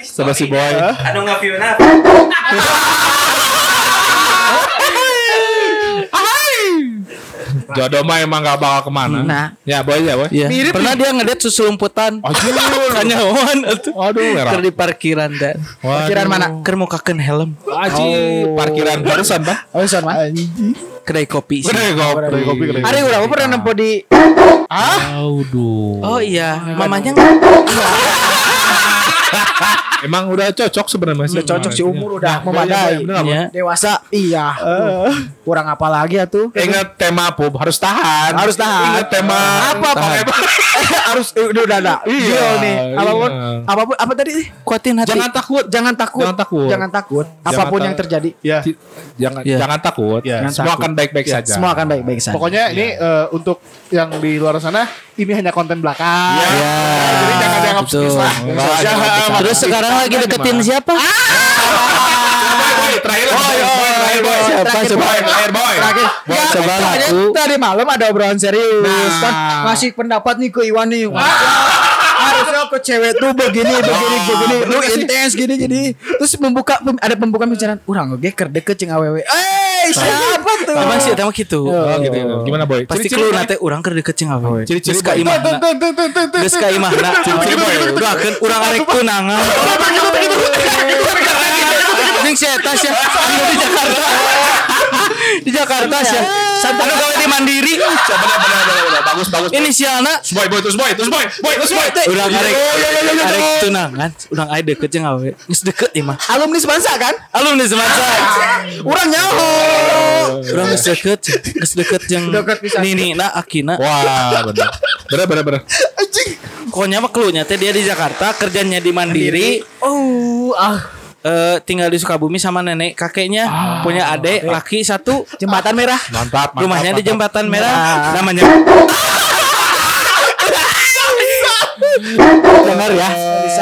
[SPEAKER 3] Sama si boy.
[SPEAKER 6] Anu ngaview na.
[SPEAKER 3] Jodoh mah emang gak bakal kemana.
[SPEAKER 4] Nah.
[SPEAKER 3] Ya boy ya boy.
[SPEAKER 5] Iya.
[SPEAKER 4] Mirip
[SPEAKER 5] Pernah dia ngedet susulumputan. Kanyawan atuh.
[SPEAKER 3] Waduh merah.
[SPEAKER 5] Keur di parkiran teh.
[SPEAKER 4] Parkiran mana?
[SPEAKER 5] Keur mukakeun helm.
[SPEAKER 3] Aji Oh, parkiran barusan pak.
[SPEAKER 4] Oh, son mah.
[SPEAKER 5] Kedai kopi. Iya. sih.
[SPEAKER 3] kopi.
[SPEAKER 2] Kedai kopi, kedai kopi.
[SPEAKER 4] Ari urang pernah nempo di
[SPEAKER 3] Aduh.
[SPEAKER 5] Ah, Oh iya, mamanya
[SPEAKER 3] Emang udah cocok sebenarnya sih.
[SPEAKER 4] Udah cocok sih umur udah
[SPEAKER 3] Nah, iya,
[SPEAKER 4] memadai.
[SPEAKER 3] iya, bener apa?
[SPEAKER 4] Iya. Dewasa iya. Kurang apa lagi ya tuh?
[SPEAKER 3] Ingat tema pub harus tahan.
[SPEAKER 4] Harus tahan.
[SPEAKER 3] Ingat tema
[SPEAKER 4] apa Bang
[SPEAKER 3] Tahan.
[SPEAKER 4] Eba? harus eh, udah udah ada.
[SPEAKER 3] Iya,
[SPEAKER 4] Deal nih. Apapun
[SPEAKER 3] iya.
[SPEAKER 4] apapun apa tadi sih?
[SPEAKER 5] Kuatin hati.
[SPEAKER 3] Jangan takut.
[SPEAKER 4] Jangan takut.
[SPEAKER 3] Jangan takut.
[SPEAKER 4] Jangan takut. Apapun
[SPEAKER 3] takut.
[SPEAKER 4] yang terjadi.
[SPEAKER 2] Ya.
[SPEAKER 3] Ti- Jangan
[SPEAKER 5] Iya.
[SPEAKER 3] jangan takut.
[SPEAKER 2] Iya.
[SPEAKER 3] Semua
[SPEAKER 4] Jangan
[SPEAKER 3] akan baik-baik saja.
[SPEAKER 4] Semua akan baik-baik saja.
[SPEAKER 2] Pokoknya ini eh, untuk yang di luar sana ini hanya konten belakang. Jadi jangan dianggap
[SPEAKER 5] betul.
[SPEAKER 2] serius lah.
[SPEAKER 5] Enggak,
[SPEAKER 2] [laughs]
[SPEAKER 5] jangan bercanda. ah, Terus sekarang lagi deketin siapa?
[SPEAKER 4] Ah,
[SPEAKER 3] Boy, terakhir lah, boy, boy, terakhir, boy.
[SPEAKER 4] Siapa,
[SPEAKER 3] Terakhir,
[SPEAKER 4] siapa?
[SPEAKER 3] boy, terakhir, boy.
[SPEAKER 4] Ya,
[SPEAKER 5] coba
[SPEAKER 4] pokoknya
[SPEAKER 5] laku.
[SPEAKER 4] tadi malam ada obrolan serius
[SPEAKER 3] Nah.
[SPEAKER 4] kan ngasih pendapat nih ke Iwan nih. Harusnya ke cewek tuh
[SPEAKER 5] Ah.
[SPEAKER 4] begini begini begini Ah, lu intens gini gini. Terus membuka pem- ada pembukaan pembicaraan urang oge keur deket jeung awewe. Eh, siapa tuh?
[SPEAKER 5] Emang sih emang gitu.
[SPEAKER 4] Iya.
[SPEAKER 3] Oh, gitu. Gimana boy?
[SPEAKER 5] Pasti
[SPEAKER 3] Ciri-ciri,
[SPEAKER 5] keluar
[SPEAKER 3] boy.
[SPEAKER 5] nanti orang keur deket jeung awewe.
[SPEAKER 3] Ciri-ciri,
[SPEAKER 5] Geus ka imahna. Geus ka
[SPEAKER 4] [laughs]
[SPEAKER 5] imahna. Doakeun urang arek tunangan. Ning si eta sia anu di Jakarta. Di Jakarta
[SPEAKER 4] ya?
[SPEAKER 5] sia. Santana gawe di
[SPEAKER 4] [laughs]
[SPEAKER 5] Mandiri.
[SPEAKER 3] Coba, bener, bener, bener, bener. bagus bagus.
[SPEAKER 5] Ini si anak
[SPEAKER 3] Terus boy, boy, terus boy, terus boy, boy, terus boy.
[SPEAKER 5] Urang
[SPEAKER 3] Iya,
[SPEAKER 5] arek
[SPEAKER 3] iya, iya, iya,
[SPEAKER 5] arek
[SPEAKER 3] iya.
[SPEAKER 5] tunangan, urang aya deket jeung awewe. Geus deket imah.
[SPEAKER 4] Alumni Semansa kan?
[SPEAKER 5] ya, Alumni
[SPEAKER 4] [laughs]
[SPEAKER 5] semasa.
[SPEAKER 4] Urang nyaho.
[SPEAKER 5] Urang geus deket, geus deket jeung
[SPEAKER 4] Deket pisan.
[SPEAKER 5] Ninina nah, Akina.
[SPEAKER 3] Wah, bener. Bener, bener, bener.
[SPEAKER 5] Pokoknya mah cluenya teh dia di Jakarta, kerjanya di Mandiri.
[SPEAKER 4] Oh, ah.
[SPEAKER 5] eh tinggal di Sukabumi sama nenek kakeknya punya adek laki satu
[SPEAKER 4] Jembatan merah.
[SPEAKER 3] Mantap, mantap.
[SPEAKER 5] rumahnya di
[SPEAKER 3] mantap.
[SPEAKER 5] jembatan merah
[SPEAKER 4] Nah.
[SPEAKER 5] namanya
[SPEAKER 4] [laughs] Benar ya.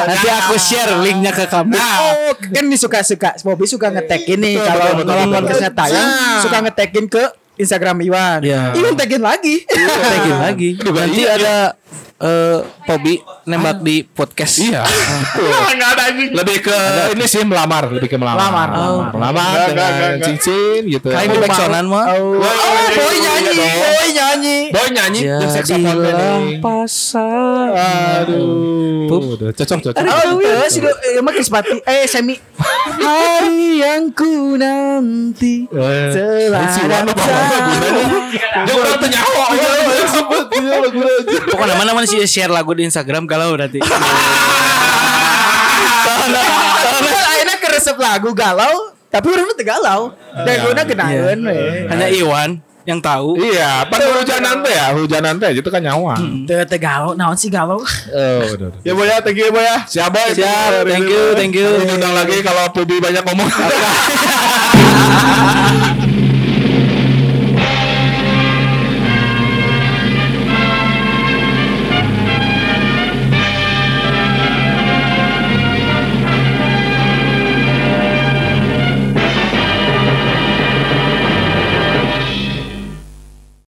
[SPEAKER 5] nanti aku share linknya ke kamu
[SPEAKER 4] Oh, kan ini suka-suka. Bobby suka ngetek ini
[SPEAKER 3] Betul,
[SPEAKER 4] kalau
[SPEAKER 3] betul, betul,
[SPEAKER 4] kalau
[SPEAKER 3] betul.
[SPEAKER 4] podcastnya tayang
[SPEAKER 3] Nah.
[SPEAKER 4] suka ngetekin ke Instagram Iwan.
[SPEAKER 5] Iya.
[SPEAKER 4] Iwan tagin lagi.
[SPEAKER 5] Tagin
[SPEAKER 4] [laughs]
[SPEAKER 5] lagi
[SPEAKER 3] Aduh,
[SPEAKER 5] nanti
[SPEAKER 3] iya, Ah.
[SPEAKER 5] ada eh Pobi nembak di podcast
[SPEAKER 3] Iya. betul. Lebih ke ini sih melamar, lebih ke melamar.
[SPEAKER 4] Lamar.
[SPEAKER 3] Melamar, melamar
[SPEAKER 2] Enggak,
[SPEAKER 3] dengan
[SPEAKER 2] enggak, enggak.
[SPEAKER 3] cincin gitu.
[SPEAKER 5] Kayak di backsonan mah
[SPEAKER 4] Oh,
[SPEAKER 3] Wah,
[SPEAKER 4] oh, boy nyanyi,
[SPEAKER 3] iya dong.
[SPEAKER 4] boy nyanyi.
[SPEAKER 3] Boy nyanyi dan saksofonnya
[SPEAKER 5] jadilah
[SPEAKER 3] nih.
[SPEAKER 5] pasar
[SPEAKER 3] Aduh. Udah, cocok cocok.
[SPEAKER 4] Oh, iya sih do- eh, emang Krispati. Eh, Semi. Hari yang ku nanti
[SPEAKER 3] Eh,
[SPEAKER 2] Nah,
[SPEAKER 4] telah
[SPEAKER 3] si Iwan mah bawa
[SPEAKER 4] datang.
[SPEAKER 3] Dia udah tuh nyawa.
[SPEAKER 5] pokoknya mana mana sih share lagu di Instagram kalau
[SPEAKER 3] [laughs]
[SPEAKER 5] nanti
[SPEAKER 4] [laughs] Kan Akhirnya keresep lagu galau, tapi urang teu galau. Dan gue
[SPEAKER 2] nah, Iya.
[SPEAKER 4] kenaeun we.
[SPEAKER 5] hanya Iwan yang tahu
[SPEAKER 3] Iya, pan hujanan teh ya, hujanan teh itu kan nyawa.
[SPEAKER 4] Teu teu Hmm. galau, naon sih galau?
[SPEAKER 3] Oh, udah. udah.
[SPEAKER 2] Ya boy ya, thank you ya boy ya.
[SPEAKER 3] Siap, boy.
[SPEAKER 5] siap thank you thank you
[SPEAKER 3] Diundang lagi kalau Pubi banyak ngomong.